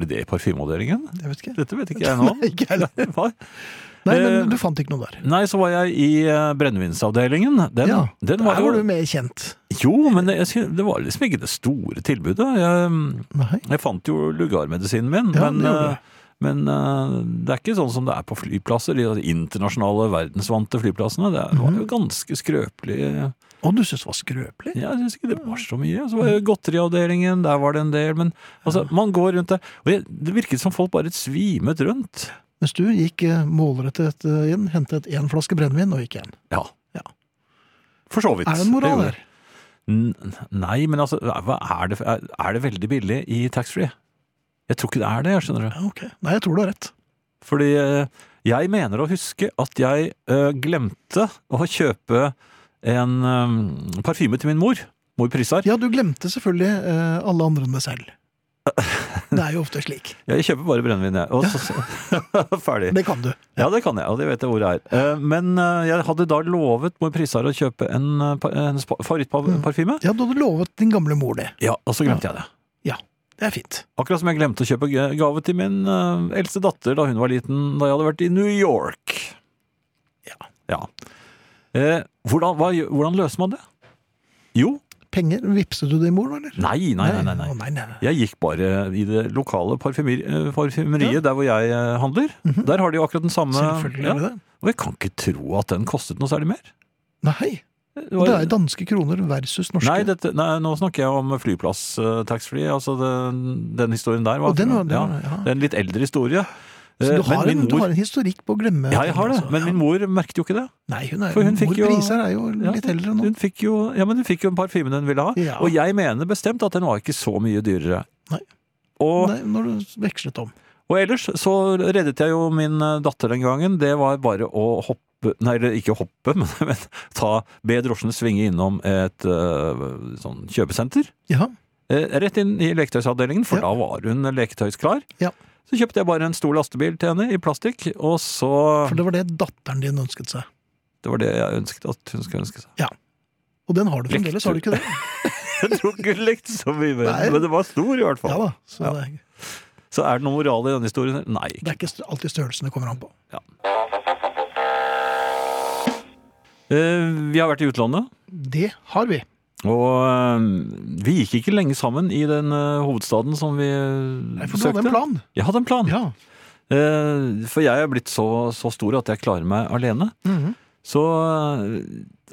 Speaker 3: de det i parfymeavdelingen?
Speaker 2: Jeg vet ikke.
Speaker 3: Dette vet ikke jeg nå.
Speaker 2: Nei, ikke heller.
Speaker 3: Hva?
Speaker 2: Nei,
Speaker 3: Eh,
Speaker 2: men du fant ikke noe der.
Speaker 3: Nei, så var jeg i eh, brennevinsavdelingen. Den,
Speaker 2: Ja,
Speaker 3: den var
Speaker 2: Der
Speaker 3: jo
Speaker 2: var du mer kjent.
Speaker 3: Jo, men jeg, sy- det var liksom ikke det store tilbudet. Jeg,
Speaker 2: Nei.
Speaker 3: jeg fant jo lugarmedisinen min,
Speaker 2: Ja,
Speaker 3: men,
Speaker 2: det gjorde
Speaker 3: eh, men eh, det er ikke sånn som det er på flyplasser. De internasjonale, verdensvante flyplassene. Det var
Speaker 2: Mhm.
Speaker 3: jo ganske skrøpelig.
Speaker 2: Og du syntes det var skrøpelig?
Speaker 3: Jeg syns ikke det var så mye.
Speaker 2: Mhm.
Speaker 3: Så var jo godteriavdelingen, der var det en del. Men altså, man går rundt der. Og jeg, det virket som folk bare svimet rundt.
Speaker 2: Mens du gikk eh, målrettet eh, inn, hentet én flaske brennevin og gikk hjem.
Speaker 3: Ja.
Speaker 2: Ja.
Speaker 3: For så vidt.
Speaker 2: Er det en moral
Speaker 3: gjorde
Speaker 2: her?
Speaker 3: N- Nei, men altså, hva er det, er det veldig billig i taxfree? Jeg tror ikke det er det, jeg skjønner du.
Speaker 2: Ja, ok. Nei, jeg tror du har rett.
Speaker 3: Fordi eh, jeg mener å huske at jeg eh, glemte å kjøpe en eh, parfyme til min mor. Mor Prisar.
Speaker 2: Ja, du glemte selvfølgelig eh, alle andre enn deg
Speaker 3: (laughs)
Speaker 2: selv. Det er jo ofte slik.
Speaker 3: Jeg kjøper bare brennevin, jeg. Og så, (laughs) ferdig.
Speaker 2: Det kan du.
Speaker 3: Ja, det kan jeg, og det vet jeg hvor det er. Eh, Men eh, jeg hadde da lovet mor Prisar å kjøpe en, eh, pa- hennes pa- favorittparfyme.
Speaker 2: Ja, du hadde lovet din gamle mor det.
Speaker 3: Ja, og så glemte jeg det.
Speaker 2: Det er fint.
Speaker 3: Akkurat som jeg glemte å kjøpe g- gave til min eh, eldste datter da hun var liten, da jeg hadde vært i New York. Ja. Eh, hvordan, hva, gjø- hvordan løser man det? Jo,
Speaker 2: Penger, vipset du din mor, eller?
Speaker 3: nei, nei, nei. nei,
Speaker 2: Å,
Speaker 3: nei.
Speaker 2: nei, nei, nei.
Speaker 3: Jeg gikk bare i det lokale parfymer, eh, parfymeriet der hvor jeg eh, handler. Der har de jo akkurat den samme.
Speaker 2: Mhm. Selvfølgelig
Speaker 3: ja.
Speaker 2: gjør du det.
Speaker 3: Og jeg kan ikke tro at den kostet noe særlig mer.
Speaker 2: Nei,
Speaker 3: Det
Speaker 2: og
Speaker 3: var-
Speaker 2: det er danske kroner versus norske.
Speaker 3: Nei, dette, nei, nå snakker jeg om flyplass eh, taxfree. Altså den, den historien der var,
Speaker 2: Og den var- den
Speaker 3: ja,
Speaker 2: var- ja.
Speaker 3: det er en litt eldre historie.
Speaker 2: Så
Speaker 3: Eh,
Speaker 2: du
Speaker 3: men
Speaker 2: har,
Speaker 3: min
Speaker 2: en, du
Speaker 3: mor-
Speaker 2: har en historikk på å glemme
Speaker 3: Ja, jeg
Speaker 2: ting,
Speaker 3: har det,
Speaker 2: altså.
Speaker 3: men
Speaker 2: Ja.
Speaker 3: min mor merket jo ikke det.
Speaker 2: Nei, hun er,
Speaker 3: For hun fikk
Speaker 2: mor
Speaker 3: jo-
Speaker 2: Prisar er jo
Speaker 3: Ja,
Speaker 2: litt eldre nå.
Speaker 3: Hun fikk jo, ja, men hun fikk jo en parfyme hun ville ha,
Speaker 2: Ja.
Speaker 3: og jeg mener bestemt at den var ikke så mye dyrere.
Speaker 2: Nei.
Speaker 3: Og,
Speaker 2: Nei, når du vekslet om.
Speaker 3: og ellers så reddet jeg jo min eh, datter den gangen, det var bare å hoppe, nei, eller ikke hoppe, (laughs) men, men ta, be drosjen svinge innom et eh, sånn kjøpesenter,
Speaker 2: Ja,
Speaker 3: eh, rett inn i leketøysavdelingen, for
Speaker 2: Ja.
Speaker 3: da var hun leketøysklar.
Speaker 2: Ja.
Speaker 3: Så kjøpte jeg bare en stor lastebil til henne i plastikk, og så,
Speaker 2: for det var det datteren din ønsket seg.
Speaker 3: det var det jeg ønsket at hun skulle ønske seg.
Speaker 2: Og den har du fremdeles, har du ikke det?
Speaker 3: Jeg tror ikke hun lekte så mye med
Speaker 2: Nei.
Speaker 3: den, men det var stor i hvert fall.
Speaker 2: Ja da, så det, er,
Speaker 3: Så er det noe moral i denne historien? her? Nei.
Speaker 2: det
Speaker 3: ikke.
Speaker 2: er ikke st- alltid størrelsen det kommer an på.
Speaker 3: Eh, vi har vært i utlandet,
Speaker 2: Det har vi.
Speaker 3: og eh, vi gikk ikke lenge sammen i den eh, hovedstaden som vi eh,
Speaker 2: Nei, for du
Speaker 3: søkte.
Speaker 2: hadde en plan.
Speaker 3: Jeg hadde en plan.
Speaker 2: Ja.
Speaker 3: Eh, for jeg er blitt så, så stor at jeg klarer meg alene.
Speaker 2: Mhm.
Speaker 3: Så, eh,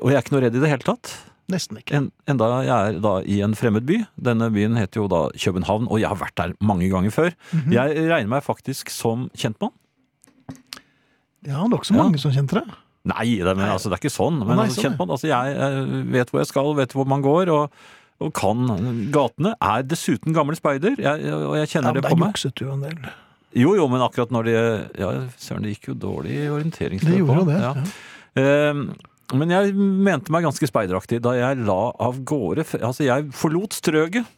Speaker 3: og jeg er ikke noe redd i det hele tatt.
Speaker 2: Nesten ikke.
Speaker 3: En, enda jeg er da i en fremmed by. Denne byen heter jo da København, og jeg har vært der mange ganger før.
Speaker 2: Mhm.
Speaker 3: Jeg regner meg faktisk som kjentmann.
Speaker 2: Ja, det var ikke så mange som kjente det.
Speaker 3: Nei, det, men, altså, det er ikke sånn. Men
Speaker 2: Nei,
Speaker 3: altså,
Speaker 2: sånn,
Speaker 3: kjent man, altså, jeg eh, vet hvor jeg skal, vet hvor man går, og, og kan gatene. Er dessuten gammel speider, jeg, og jeg
Speaker 2: Ja, men
Speaker 3: kjenner det
Speaker 2: der
Speaker 3: på meg.
Speaker 2: jukset du en del.
Speaker 3: Jo, jo, men akkurat når de Ja, søren, det gikk jo dårlig i orienteringsløpet.
Speaker 2: Det gjorde jo det.
Speaker 3: også,
Speaker 2: ja.
Speaker 3: ja. Eh, men jeg mente meg ganske speideraktig da jeg la av gårde f- Altså, jeg forlot strøket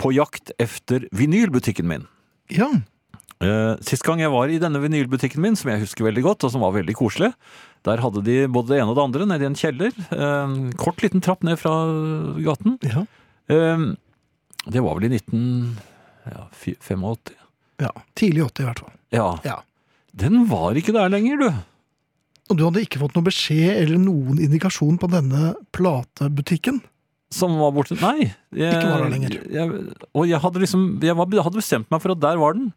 Speaker 3: på jakt efter vinylbutikken min.
Speaker 2: Ja,
Speaker 3: Eh, Sist gang jeg var i denne vinylbutikken min, som jeg husker veldig godt, og som var veldig koselig, der hadde de både det ene og det andre nede i en kjeller. eh, En kort liten trapp ned fra gaten.
Speaker 2: ja.
Speaker 3: Eh, Det var vel i 1985.
Speaker 2: ja. Tidlig 80 i hvert fall.
Speaker 3: Ja.
Speaker 2: Ja.
Speaker 3: Den var ikke der lenger, du.
Speaker 2: Og du hadde ikke fått noen beskjed eller noen indikasjon på denne platebutikken?
Speaker 3: Som var borte. Nei. Jeg,
Speaker 2: Ikke var der lenger.
Speaker 3: Jeg, og jeg hadde liksom Jeg var, hadde bestemt meg for at der var den.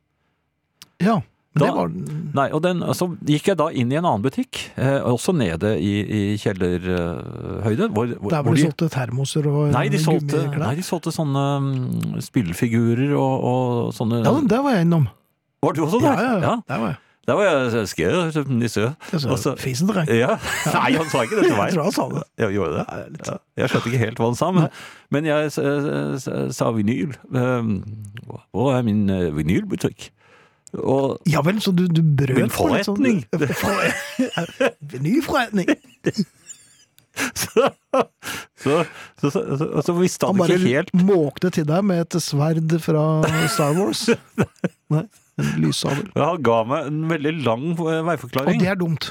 Speaker 2: Ja, men
Speaker 3: Da-
Speaker 2: det var den.
Speaker 3: Nei, og den, så gikk jeg da inn i en annen butikk, eh, også nede i, i kjellerhøyde. Hvor, hvor,
Speaker 2: Der
Speaker 3: hvor
Speaker 2: hvor de
Speaker 3: de-
Speaker 2: solgte termoser og
Speaker 3: Nei, de solgte,
Speaker 2: gummiklær.
Speaker 3: nei, de solgte sånne mm, spillfigurer og, og sånne
Speaker 2: Ja, men der var jeg innom.
Speaker 3: Var du også
Speaker 2: Ja,
Speaker 3: der?
Speaker 2: ja, ja. Der var jeg.
Speaker 3: Der var jeg skrevet nisse.
Speaker 2: Altså,
Speaker 3: Og så-
Speaker 2: Fisen til deg.
Speaker 3: Ja. (laughs) Nei, han sa ikke det til
Speaker 2: (laughs)
Speaker 3: meg.
Speaker 2: Jeg tror han sa det.
Speaker 3: Ja, gjorde det? Ja. Jeg skjønte ikke helt hva han sa, men, men jeg s- s- s- sa vinyl. Um, Hvor er min eh, vinylbutikk?
Speaker 2: (laughs)
Speaker 3: Og
Speaker 2: Ja vel, så du, du brøt
Speaker 3: Min
Speaker 2: på litt (laughs)
Speaker 3: forretning.
Speaker 2: Sånn, (laughs) Ny forretning!
Speaker 3: så, så, så, så, så, så visste
Speaker 2: Han
Speaker 3: han,
Speaker 2: bare
Speaker 3: ikke helt
Speaker 2: måkte til deg med et sverd fra Star
Speaker 3: (laughs)
Speaker 2: Wars. Nei, en lyssaber.
Speaker 3: Ja, Han ga meg en veldig lang eh,
Speaker 2: Og
Speaker 3: veiforklaring.
Speaker 2: det
Speaker 3: Det...
Speaker 2: er dumt.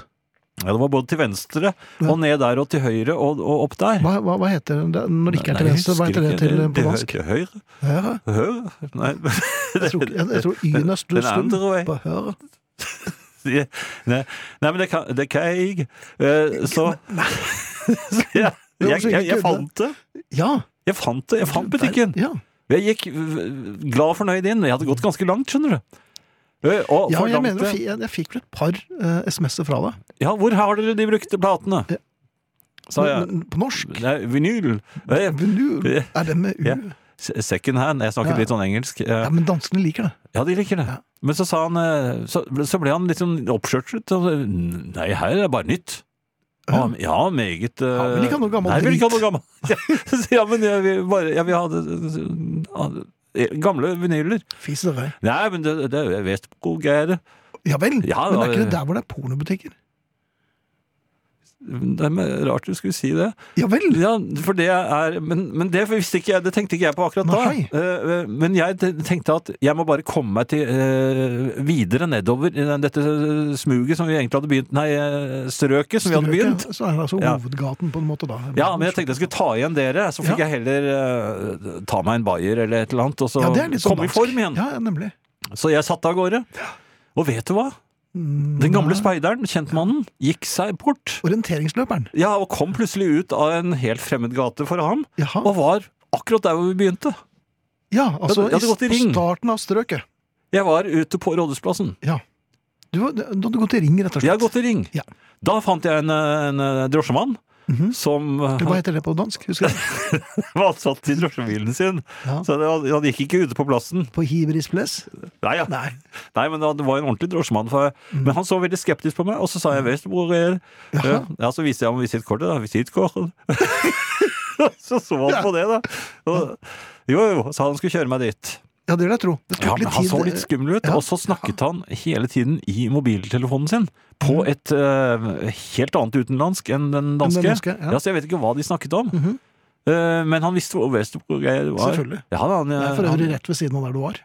Speaker 3: Ja, det var både til venstre og ned der og til høyre og, og opp der.
Speaker 2: Hva, hva, hva heter det når det ikke er til
Speaker 3: Nei, jeg
Speaker 2: venstre? Hva heter
Speaker 3: husker
Speaker 2: det
Speaker 3: ikke.
Speaker 2: til eh, på
Speaker 3: hø-
Speaker 2: dansk?
Speaker 3: Til høyre?
Speaker 2: Høyre?
Speaker 3: Høyre? Nei. (laughs)
Speaker 2: Jeg tror, ikke- jeg, jeg tror Y-en er
Speaker 3: Den
Speaker 2: stum.
Speaker 3: andre vei.
Speaker 2: På høyre.
Speaker 3: Nei, nei, men det kan, det kan jeg ikke. Eh, Så, (laughs) så jeg,
Speaker 2: Det var
Speaker 3: jeg,
Speaker 2: så ikke
Speaker 3: jeg, jeg
Speaker 2: kødde.
Speaker 3: fant det.
Speaker 2: Ja.
Speaker 3: Jeg fant det, jeg fant butikken.
Speaker 2: Ja.
Speaker 3: Jeg gikk øh, glad og fornøyd inn. Jeg hadde gått ganske langt, skjønner du. Eh, Og
Speaker 2: ja, jeg
Speaker 3: forlangte-
Speaker 2: mener, jeg, fi- jeg, jeg fikk vel et par eh, SMS-er fra deg.
Speaker 3: Ja, hvor har dere de brukte platene?
Speaker 2: Ja.
Speaker 3: Sa jeg.
Speaker 2: Men- men På norsk.
Speaker 3: Nei, vinyl. Eh,
Speaker 2: Men du,
Speaker 3: eh,
Speaker 2: er det med U?
Speaker 3: Ja. se- Second hand. Jeg snakket
Speaker 2: Ja.
Speaker 3: litt sånn engelsk. Eh,
Speaker 2: Ja, men danskene liker det.
Speaker 3: Ja, de liker det. Men så sa han eh, Så, så ble han litt sånn oppskjørtet. og så, Nei, her er det bare nytt. Ja, men- ja meget eh,
Speaker 2: Han vil ikke ha noe gammel
Speaker 3: Nei, vil ikke ha
Speaker 2: drit.
Speaker 3: noe gammel. (laughs) Ja, ja, men jeg vil bare Jeg vil ha det, eh, gamle vinyler.
Speaker 2: Fis i deg.
Speaker 3: Nei, men det, det er Vestbro-greier.
Speaker 2: Ja vel,
Speaker 3: Ja,
Speaker 2: men
Speaker 3: da-
Speaker 2: er ikke det der hvor det er pornobutikker?
Speaker 3: Det er rart du skulle si det.
Speaker 2: Ja vel!
Speaker 3: (laughs) Ja, for det er, men, men det visste ikke jeg, det tenkte ikke jeg på akkurat da.
Speaker 2: Nei.
Speaker 3: Eh, eh, Men jeg te- tenkte at jeg må bare komme meg til, eh, videre nedover i den- dette eh, smuget som vi egentlig hadde begynt, nei, eh, strøket som vi hadde
Speaker 2: Strøket,
Speaker 3: begynt.
Speaker 2: Så er det altså
Speaker 3: Ja.
Speaker 2: hovedgaten på en måte da.
Speaker 3: Ja, men jeg tenkte jeg skulle ta igjen dere, så fikk
Speaker 2: Ja.
Speaker 3: jeg heller eh, ta meg en bayer eller et eller annet, og så
Speaker 2: Ja, det er litt sånn
Speaker 3: komme i
Speaker 2: dansk.
Speaker 3: form igjen.
Speaker 2: Ja, ja, nemlig.
Speaker 3: Så jeg satte av gårde. Og vet du hva?
Speaker 2: Mm,
Speaker 3: Den gamle speideren, kjentmannen, gikk seg bort.
Speaker 2: Orienteringsløperen.
Speaker 3: Ja, og kom plutselig ut av en helt fremmed gate for ham,
Speaker 2: Jaha.
Speaker 3: og var akkurat der hvor vi begynte.
Speaker 2: Ja, altså
Speaker 3: Ja, det- ja, det har gått i
Speaker 2: på
Speaker 3: ring.
Speaker 2: starten av strøket.
Speaker 3: Jeg var ute på Rådhusplassen.
Speaker 2: Ja. Du, har- du hadde gått i ring, rett og
Speaker 3: Jeg har
Speaker 2: slett.
Speaker 3: gått i ring.
Speaker 2: Ja. Mhm.
Speaker 3: Da fant jeg en, eh, en eh, drosjemann som eh, (laughs)
Speaker 2: Hva heter det på dansk? Husker du?
Speaker 3: var satt i drosjebilen sin.
Speaker 2: Ja.
Speaker 3: Så det, var- han gikk ikke ute på plassen.
Speaker 2: På Hibris Place?
Speaker 3: Nei, ja.
Speaker 2: Nei. Mhm.
Speaker 3: Nei men det var en ordentlig drosjemann. For, Men han så veldig skeptisk på meg, og så sa jeg 'Vestbror er ja. ja, Så viste jeg ham visittkortet.
Speaker 2: (laughs)
Speaker 3: da, Visittkort. (laughs) så så han på det, da. Og, jo, jo, sa han skulle kjøre meg dit.
Speaker 2: Ja, det vil jeg tro. Det tok
Speaker 3: Ja, men
Speaker 2: litt
Speaker 3: han
Speaker 2: tid.
Speaker 3: så litt skummel ut,
Speaker 2: Ja.
Speaker 3: og så snakket han hele tiden i mobiltelefonen sin. På
Speaker 2: Mhm.
Speaker 3: et eh, helt annet utenlandsk enn den danske.
Speaker 2: danske, ja. Mhm.
Speaker 3: ja. Så jeg vet ikke hva de snakket om. Eh, men han visste hvor Westbrook var.
Speaker 2: Selvfølgelig.
Speaker 3: Ja, da, han,
Speaker 2: Det er for øvrig rett ved siden av der du var.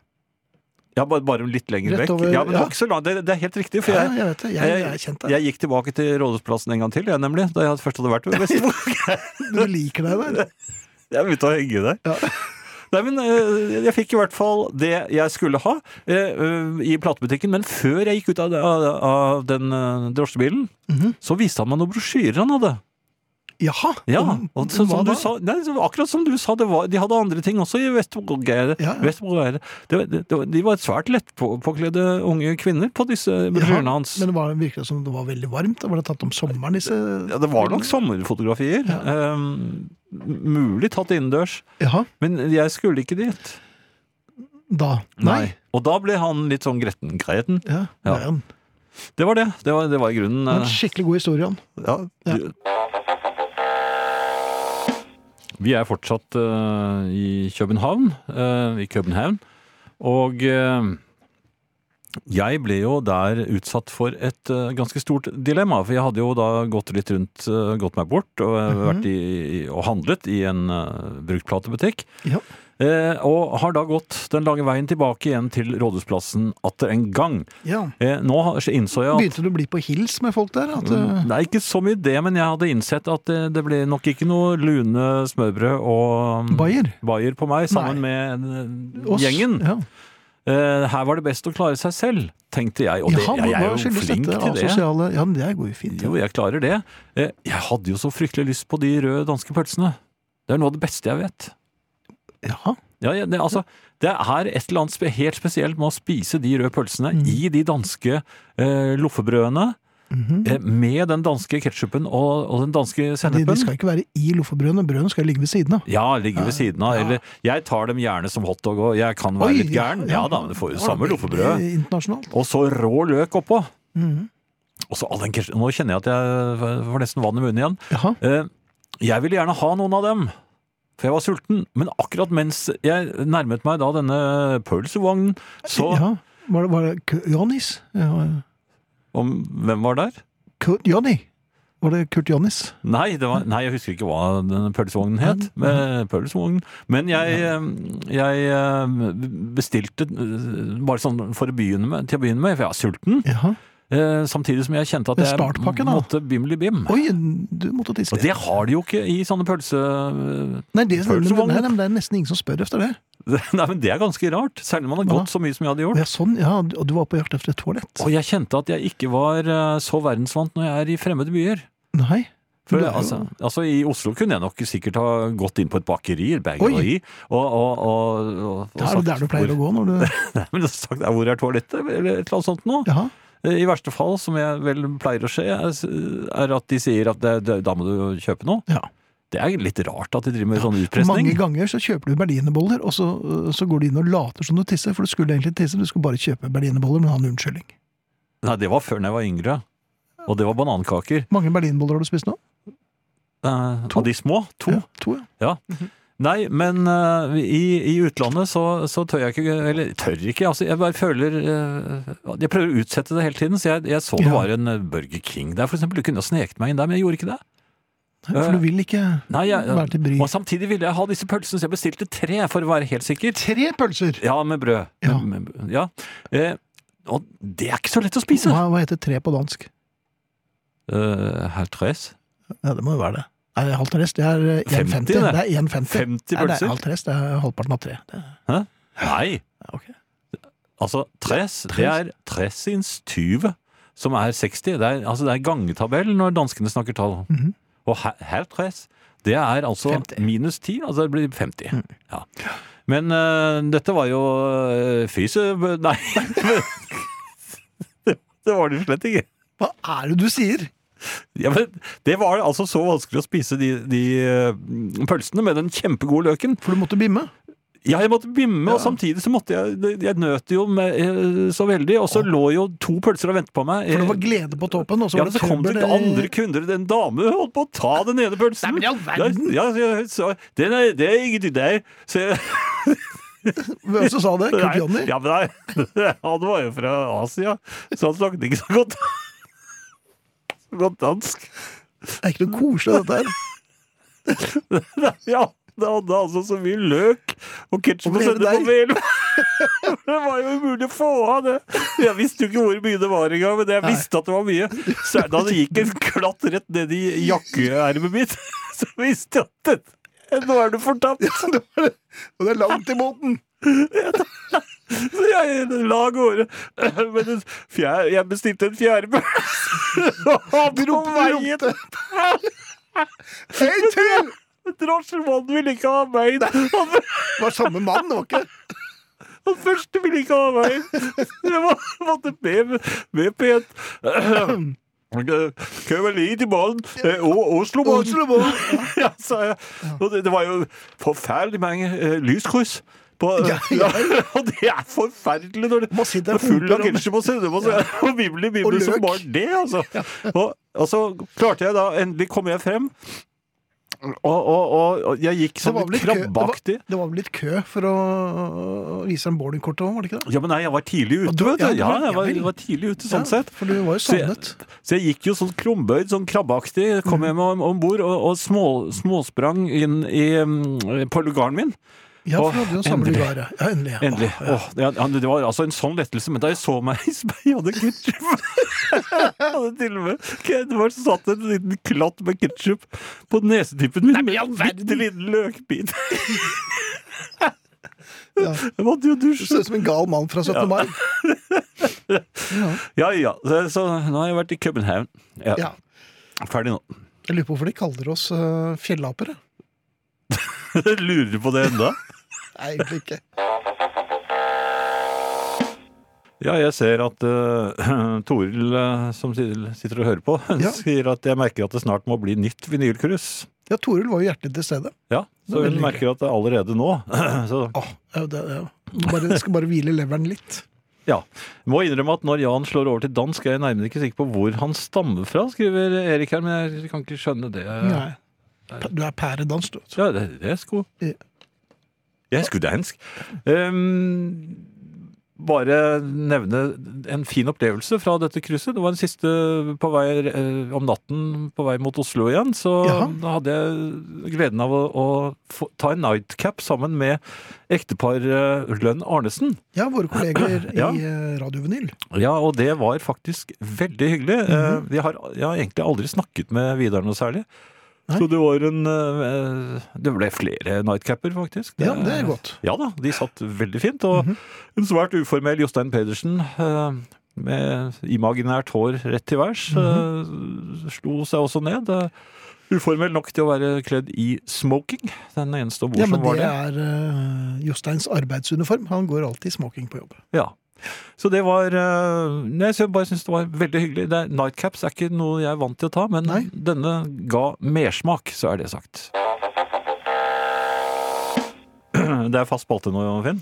Speaker 3: ja, bare, bare litt lenger
Speaker 2: Rett
Speaker 3: vekk.
Speaker 2: over-
Speaker 3: ja, men det
Speaker 2: ja.
Speaker 3: var ikke så langt. Det, det er helt riktig. For
Speaker 2: Ja,
Speaker 3: jeg,
Speaker 2: jeg vet det. Jeg, jeg er kjent der.
Speaker 3: jeg gikk tilbake til Rådhusplassen en gang til, jeg, nemlig. Da jeg først hadde vært ved Westbrook.
Speaker 2: (laughs) Du liker deg der.
Speaker 3: Jeg begynte å henge der.
Speaker 2: Ja.
Speaker 3: Nei, men eh, Jeg fikk i hvert fall det jeg skulle ha eh, eh, i platebutikken. Men før jeg gikk ut av, av, av den eh, drosjebilen,
Speaker 2: Mhm.
Speaker 3: så viste han meg noen brosjyrer han hadde.
Speaker 2: Jaha.
Speaker 3: Ja,
Speaker 2: om-
Speaker 3: og så,
Speaker 2: om hva
Speaker 3: som du
Speaker 2: da?
Speaker 3: sa, nei, så, Akkurat som du sa, det var, de hadde andre ting også i Vestbrogeire.
Speaker 2: Ja, ja.
Speaker 3: Vestbrogeire. Det var- det- det var- De var svært lettpåkledde unge kvinner på disse brosjyrene
Speaker 2: Jaha,
Speaker 3: hans.
Speaker 2: Men var det virkelig som det var veldig varmt? Da Var det tatt om sommeren, disse
Speaker 3: Ja, det var nok Mm. sommerfotografier. eh, mulig tatt innendørs.
Speaker 2: Jaha,
Speaker 3: Men jeg skulle ikke dit.
Speaker 2: da. Nei.
Speaker 3: Og da ble han litt sånn gretten. gretten.
Speaker 2: Ja,
Speaker 3: Ja.
Speaker 2: det er en,
Speaker 3: Det var det. Det var, det var i grunnen
Speaker 2: en
Speaker 3: eh,
Speaker 2: skikkelig god historie, han.
Speaker 3: ja, du- Vi er fortsatt eh, i København. eh, I København. Og eh, jeg ble jo der utsatt for et eh, ganske stort dilemma. For jeg hadde jo da gått litt rundt, eh, gått meg bort og, eh, vært i, i- og handlet i en uh, bruktplatebutikk.
Speaker 2: Ja.
Speaker 3: Eh, og har da gått den lange veien tilbake igjen til Rådhusplassen atter en gang.
Speaker 2: Ja.
Speaker 3: Eh, nå har- innså jeg at
Speaker 2: Begynte du å bli på hils med folk der? At, eh,
Speaker 3: Nei, ikke så mye det, men jeg hadde innsett at det, det ble nok ikke noe lune smørbrød og mm,
Speaker 2: Bayer?
Speaker 3: Bayer på meg, sammen med eh,
Speaker 2: Oss?
Speaker 3: gjengen.
Speaker 2: Ja.
Speaker 3: Eh, her var det best å klare seg selv, tenkte jeg. Og det,
Speaker 2: Jaha,
Speaker 3: jeg, jeg
Speaker 2: hva
Speaker 3: er jo
Speaker 2: skyldes
Speaker 3: flink
Speaker 2: dette
Speaker 3: til det.
Speaker 2: asosiale? Ja, men det går jo fint.
Speaker 3: Jo, jeg klarer det. Eh, jeg hadde jo så fryktelig lyst på de røde danske pølsene. Det er noe av det beste jeg vet.
Speaker 2: Jaha.
Speaker 3: Ja, ja, det, altså, det er et eller annet spe helt spesielt med å spise de røde pølsene
Speaker 2: Mm.
Speaker 3: i de danske eh, loffebrødene. eh, Med den danske ketsjupen og, og den danske
Speaker 2: Mhm. De, de
Speaker 3: sennepen.
Speaker 2: skal ikke være i loffebrødene, brødene skal jo ligge ved siden av.
Speaker 3: Ja, ligger ved siden av. Eller jeg tar dem gjerne som hotdog, og jeg kan være
Speaker 2: Oi,
Speaker 3: litt gæren. Ja da, men du får jo
Speaker 2: Det
Speaker 3: samme
Speaker 2: var da
Speaker 3: loffebrød.
Speaker 2: veldig Internasjonalt.
Speaker 3: Og så rå løk oppå.
Speaker 2: Mhm.
Speaker 3: Også all den, kres- nå kjenner jeg at jeg får nesten vann i munnen igjen.
Speaker 2: Jaha.
Speaker 3: Eh, Jeg ville gjerne ha noen av dem, for jeg var sulten. Men akkurat mens jeg nærmet meg da denne pølsevognen, så
Speaker 2: Ja. Var det, var det K- Jonis? Ja,
Speaker 3: om, Hvem var der?
Speaker 2: Kurt Jonny? Var det Kurt Jonis?
Speaker 3: Nei, det var, nei, jeg husker ikke hva denne pølsevognen het. Men, eh, pølsevognen. men jeg, eh, jeg eh, bestilte eh, bare sånn for å begynne med, til å begynne med, for jeg var sulten.
Speaker 2: Jaha.
Speaker 3: eh, Samtidig som jeg kjente at
Speaker 2: Det er
Speaker 3: jeg
Speaker 2: startpakken, da.
Speaker 3: måtte bimli-bim.
Speaker 2: Oi, du måtte tisse.
Speaker 3: Og det har de jo ikke i sånne pølse... (laughs)
Speaker 2: Nei, det, nei,
Speaker 3: Pølsevogn.
Speaker 2: nei, men det er nesten ingen som spør efter det.
Speaker 3: Nei, men Det er ganske rart. Særlig når man har
Speaker 2: Ja.
Speaker 3: gått så mye som jeg hadde
Speaker 2: Og
Speaker 3: gjort.
Speaker 2: jeg, sånn, ja, og du var på jakt efter et toalett?
Speaker 3: Og jeg kjente at jeg ikke var eh, så verdensvant når jeg er i fremmede byer.
Speaker 2: Nei.
Speaker 3: For,
Speaker 2: Du er jo-
Speaker 3: altså, altså I Oslo kunne jeg nok sikkert ha gått inn på et bakeri eller bageri og, og, og, og, og
Speaker 2: Det er jo der du pleier å gå når du (laughs)
Speaker 3: Nei, (laughs) men sagt, «Ja, hvor er toalettet, eller et eller annet sånt noe.
Speaker 2: Jaha.
Speaker 3: I verste fall, som jeg vel pleier å se, er- er at de sier at det, det, da må du kjøpe noe.
Speaker 2: Ja.
Speaker 3: Det er litt rart at de driver med sånn utpressing.
Speaker 2: Mange ganger så kjøper du berlineboller, og så, øh, så går du inn og later som du tisser, for du skulle egentlig tisse, du skulle bare kjøpe berlineboller, men ha en unnskyldning.
Speaker 3: Nei, det var før da jeg var yngre. Og det var banankaker.
Speaker 2: Mange berlinboller har du spist nå?
Speaker 3: Eh,
Speaker 2: To.
Speaker 3: Av de små. To.
Speaker 2: Ja, to, ja.
Speaker 3: Nei, men eh, i, i utlandet så, så tør jeg ikke Eller tør ikke, altså. Jeg bare føler eh, Jeg prøver å utsette det hele tiden. Så jeg, jeg så det
Speaker 2: Ja.
Speaker 3: var en eh, Burger King der, for eksempel. Du kunne ha sneket meg inn der, men jeg gjorde ikke det.
Speaker 2: Nei, For du vil ikke
Speaker 3: Nei, jeg,
Speaker 2: være til bry.
Speaker 3: Og samtidig ville jeg ha disse pølsene, så jeg bestilte tre, for å være helt sikker.
Speaker 2: Tre pølser!
Speaker 3: Ja, med brød.
Speaker 2: Ja.
Speaker 3: Med, med, ja. Eh, og det er ikke så lett å spise.
Speaker 2: Hva, hva heter tre på dansk?
Speaker 3: Eh, herr Tres.
Speaker 2: Ja, det må jo være det. Nei, det er halvt rest. Det er eh, 1,50.
Speaker 3: 50,
Speaker 2: Det
Speaker 3: det.
Speaker 2: er 1,50.
Speaker 3: 50
Speaker 2: Nei, det er
Speaker 3: pølser?
Speaker 2: halvt rest. Det er halvparten av tre. Det er,
Speaker 3: Hæ? Nei.
Speaker 2: ja, ok.
Speaker 3: Altså, tres, det er tressins 20, som er 60. Det er, altså, det er gangetabell når danskene snakker tall.
Speaker 2: Mhm.
Speaker 3: Og her, her tres, det er altså
Speaker 2: 50.
Speaker 3: minus 10, altså det blir 50. Ja. Men eh, dette var jo uh, fryse... Nei, (laughs) det, det var det jo slett ikke.
Speaker 2: Hva er det du sier?
Speaker 3: Ja, men det var altså så vanskelig å spise de, de eh, pølsene med den kjempegode løken.
Speaker 2: For du måtte bimme.
Speaker 3: Ja, jeg måtte bimme, og samtidig så måtte jeg Jeg nøt jo med, eh, så veldig, og så lå jo to pølser og ventet på meg.
Speaker 2: For det var
Speaker 3: Eh,
Speaker 2: glede på toppen, og så
Speaker 3: ja,
Speaker 2: var
Speaker 3: men
Speaker 2: det
Speaker 3: så kom det
Speaker 2: trøbbel.
Speaker 3: andre kunder. Den dame holdt på å ta den ene pølsen.
Speaker 2: Nei, men i all verden!
Speaker 3: Ja, ja, ja, så, den er, det er ingenting der.
Speaker 2: (laughs)
Speaker 3: Så jeg,
Speaker 2: Hvem som sa det? Kurt
Speaker 3: (laughs) nei,
Speaker 2: Jonny?
Speaker 3: Ja, men nei, han var jo fra Asia, så han snakket ikke så godt. (laughs) Så godt dansk.
Speaker 2: Det er ikke noe koselig, dette her.
Speaker 3: Nei, Ja, det hadde altså så mye løk og ketsjup
Speaker 2: Og
Speaker 3: og
Speaker 2: ble det
Speaker 3: sennep på mel. (laughs) Det var jo umulig å få av det. Jeg visste jo ikke hvor mye det var engang, men jeg visste at det var mye. Så da det gikk en klatt rett ned i jakkeermet mitt, (laughs) så visste jeg at dette- nå er du fortapt.
Speaker 2: Og det er langt i (laughs) båten!
Speaker 3: Så jeg la gårde. Men en fjerde, jeg bestilte en fjerde pølse. Og på veien
Speaker 2: En til!
Speaker 3: Drosjemannen ville ikke ha meg. Han
Speaker 2: Det var samme mann, det var (laughs) ikke
Speaker 3: Han første ville ikke ha meg. Jeg må- måtte be, be pent. Kommer litt i Eh, banen. Oslo-banen. Ja, sa jeg. Og det, det var jo forferdelig mange eh, lyskryss. På,
Speaker 2: Ja, ja.
Speaker 3: (laughs) og det er forferdelig når det
Speaker 2: Man sitter
Speaker 3: det er
Speaker 2: og
Speaker 3: full av
Speaker 2: roper om-
Speaker 3: ketsjup og sennep og, så- og bimli bimli
Speaker 2: Og
Speaker 3: som
Speaker 2: løk.
Speaker 3: bare det, altså. Og, og så klarte jeg da Endelig kom jeg frem. Og, og, og, og jeg gikk
Speaker 2: Det
Speaker 3: sånn
Speaker 2: var vel
Speaker 3: litt
Speaker 2: litt kø, det var,
Speaker 3: krabbeaktig.
Speaker 2: det var vel litt kø for å øh, vise dem boardingkortet òg, var det ikke det?
Speaker 3: Ja, men nei, jeg var tidlig ute.
Speaker 2: Og du-
Speaker 3: vet du.
Speaker 2: ja,
Speaker 3: Ja,
Speaker 2: du var-
Speaker 3: jeg var,
Speaker 2: ja vel.
Speaker 3: jeg var tidlig ute, sånn
Speaker 2: Ja,
Speaker 3: sett.
Speaker 2: For du var jo
Speaker 3: Så jeg-
Speaker 2: savnet.
Speaker 3: Så jeg gikk jo sånn krumbøyd, sånn krabbeaktig,
Speaker 2: Mm.
Speaker 3: kom hjem om om bord og, og små, småsprang inn i, mm, på lugaren min.
Speaker 2: Ja, for
Speaker 3: Åh,
Speaker 2: du hadde jo en samme
Speaker 3: endelig.
Speaker 2: lugar. ja. Ja, endelig. ja.
Speaker 3: Endelig. Åh, ja, ja, det var altså en sånn lettelse, men da jeg så meg i speilet, hadde (laughs) ketsjup Hadde til og med Det var satt en liten klatt med ketsjup på nesetippen min. Nei, men Bitte liten løkbit.
Speaker 2: (laughs) Ja.
Speaker 3: Jeg måtte jo
Speaker 2: Du
Speaker 3: dusje.
Speaker 2: ser ut som en gal mann fra 17. mai.
Speaker 3: Ja ja. Så, så nå har jeg vært i København. Ja.
Speaker 2: Ja.
Speaker 3: Ferdig nå.
Speaker 2: Jeg lurer på hvorfor de kaller oss øh, fjellapere.
Speaker 3: (laughs) Lurer du på det enda?
Speaker 2: Nei, egentlig ikke.
Speaker 3: Ja, jeg ser at eh, (clears throat) Toril, eh, som sitter sitter og hører på, (laughs)
Speaker 2: Ja.
Speaker 3: sier at jeg merker at det snart må bli nytt vinylkryss.
Speaker 2: Ja, Toril var jo hjertelig til stede.
Speaker 3: Ja,
Speaker 2: Det
Speaker 3: så
Speaker 2: er
Speaker 3: hun
Speaker 2: veldig
Speaker 3: merker at det er allerede nå. (clears throat) så,
Speaker 2: Åh, ja, det, ja. Bare, skal bare hvile leveren litt.
Speaker 3: Ja. Må innrømme at når Jan slår over til dansk, er jeg nærmere ikke sikker på hvor han stammer fra, skriver Erik her, men jeg kan ikke skjønne det.
Speaker 2: Nei. Du er pæredans, du. vet du.
Speaker 3: Ja, det, det er sko.
Speaker 2: Ja.
Speaker 3: Jeg er sko dansk. Ehm, bare nevne en fin opplevelse fra dette krysset. Det var den siste på vei, eh, om natten på vei mot Oslo igjen. Så
Speaker 2: Jaha.
Speaker 3: da hadde jeg gleden av å, å få, ta en nightcap sammen med ektepar eh, Lønn Arnesen.
Speaker 2: Ja, våre kolleger
Speaker 3: (clears throat) Ja.
Speaker 2: i eh, Radio Vinyl.
Speaker 3: Ja, og det var faktisk veldig hyggelig. Eh,
Speaker 2: Mhm.
Speaker 3: vi har, jeg har egentlig aldri snakket med Vidar noe særlig.
Speaker 2: Nei.
Speaker 3: Så det var en eh, Det ble flere nightcapper, faktisk.
Speaker 2: Ja, det er godt. Mhm.
Speaker 3: Ja da, de satt veldig fint. Og en svært uformell Jostein Pedersen eh, med imaginært hår rett til værs
Speaker 2: Mhm.
Speaker 3: eh, slo seg også ned. Eh, Uformell nok til å være kledd i smoking. Den eneste om bord
Speaker 2: Ja,
Speaker 3: som
Speaker 2: men det
Speaker 3: var det.
Speaker 2: er eh, Josteins arbeidsuniform. Han går alltid i smoking på jobb.
Speaker 3: Ja. Så det var eh, Nei, så jeg bare syns det var veldig hyggelig. Det er, nightcaps er ikke noe jeg er vant til å ta, men
Speaker 2: Nei.
Speaker 3: denne ga mersmak, så er det sagt. Det er fast spalte nå, Finn?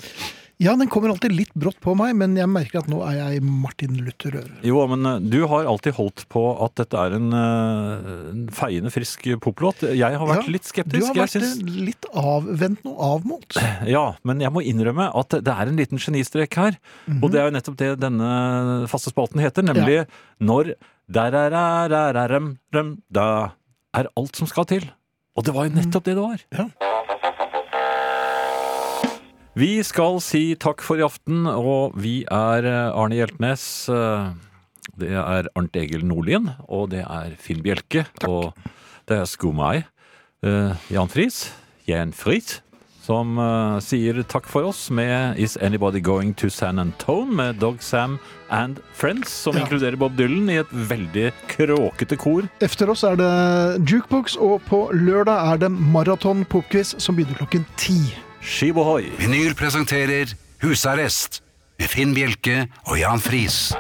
Speaker 2: Ja, den kommer alltid litt brått på meg, men jeg merker at nå er jeg Martin Luther Øre.
Speaker 3: Jo, men eh, du har alltid holdt på at dette er en, eh, en feiende frisk poplåt. Jeg har vært
Speaker 2: Ja,
Speaker 3: litt
Speaker 2: Du
Speaker 3: skeptisk.
Speaker 2: har
Speaker 3: Jeg
Speaker 2: vært
Speaker 3: syns-
Speaker 2: eh, litt avventende og avmålt.
Speaker 3: Ja, men jeg må innrømme at det er en liten genistrek her. Og det er jo nettopp det denne faste spalten heter, nemlig når der er er er er rem, rem, da er alt som skal til. Og det var jo nettopp det det var.
Speaker 2: Ja.
Speaker 3: Vi skal si takk for i aften, og vi er eh, Arne Hjeltnes. eh, Det er Arnt Egil Nordlien, og det er Finn Bjelke. Og det er Skumai. eh, Jan Friis. Jan Friis som eh, sier takk for oss med Is Anybody Going to San Antone med Dog Sam and Friends, som
Speaker 2: Ja.
Speaker 3: inkluderer Bob Dylan i et veldig kråkete kor.
Speaker 2: Efter oss er det jukebox, og på lørdag er det maraton popquiz som begynner klokken ti.
Speaker 3: Shibohoi!
Speaker 1: Vinyl presenterer Husarrest med Finn Bjelke og Jan Friis.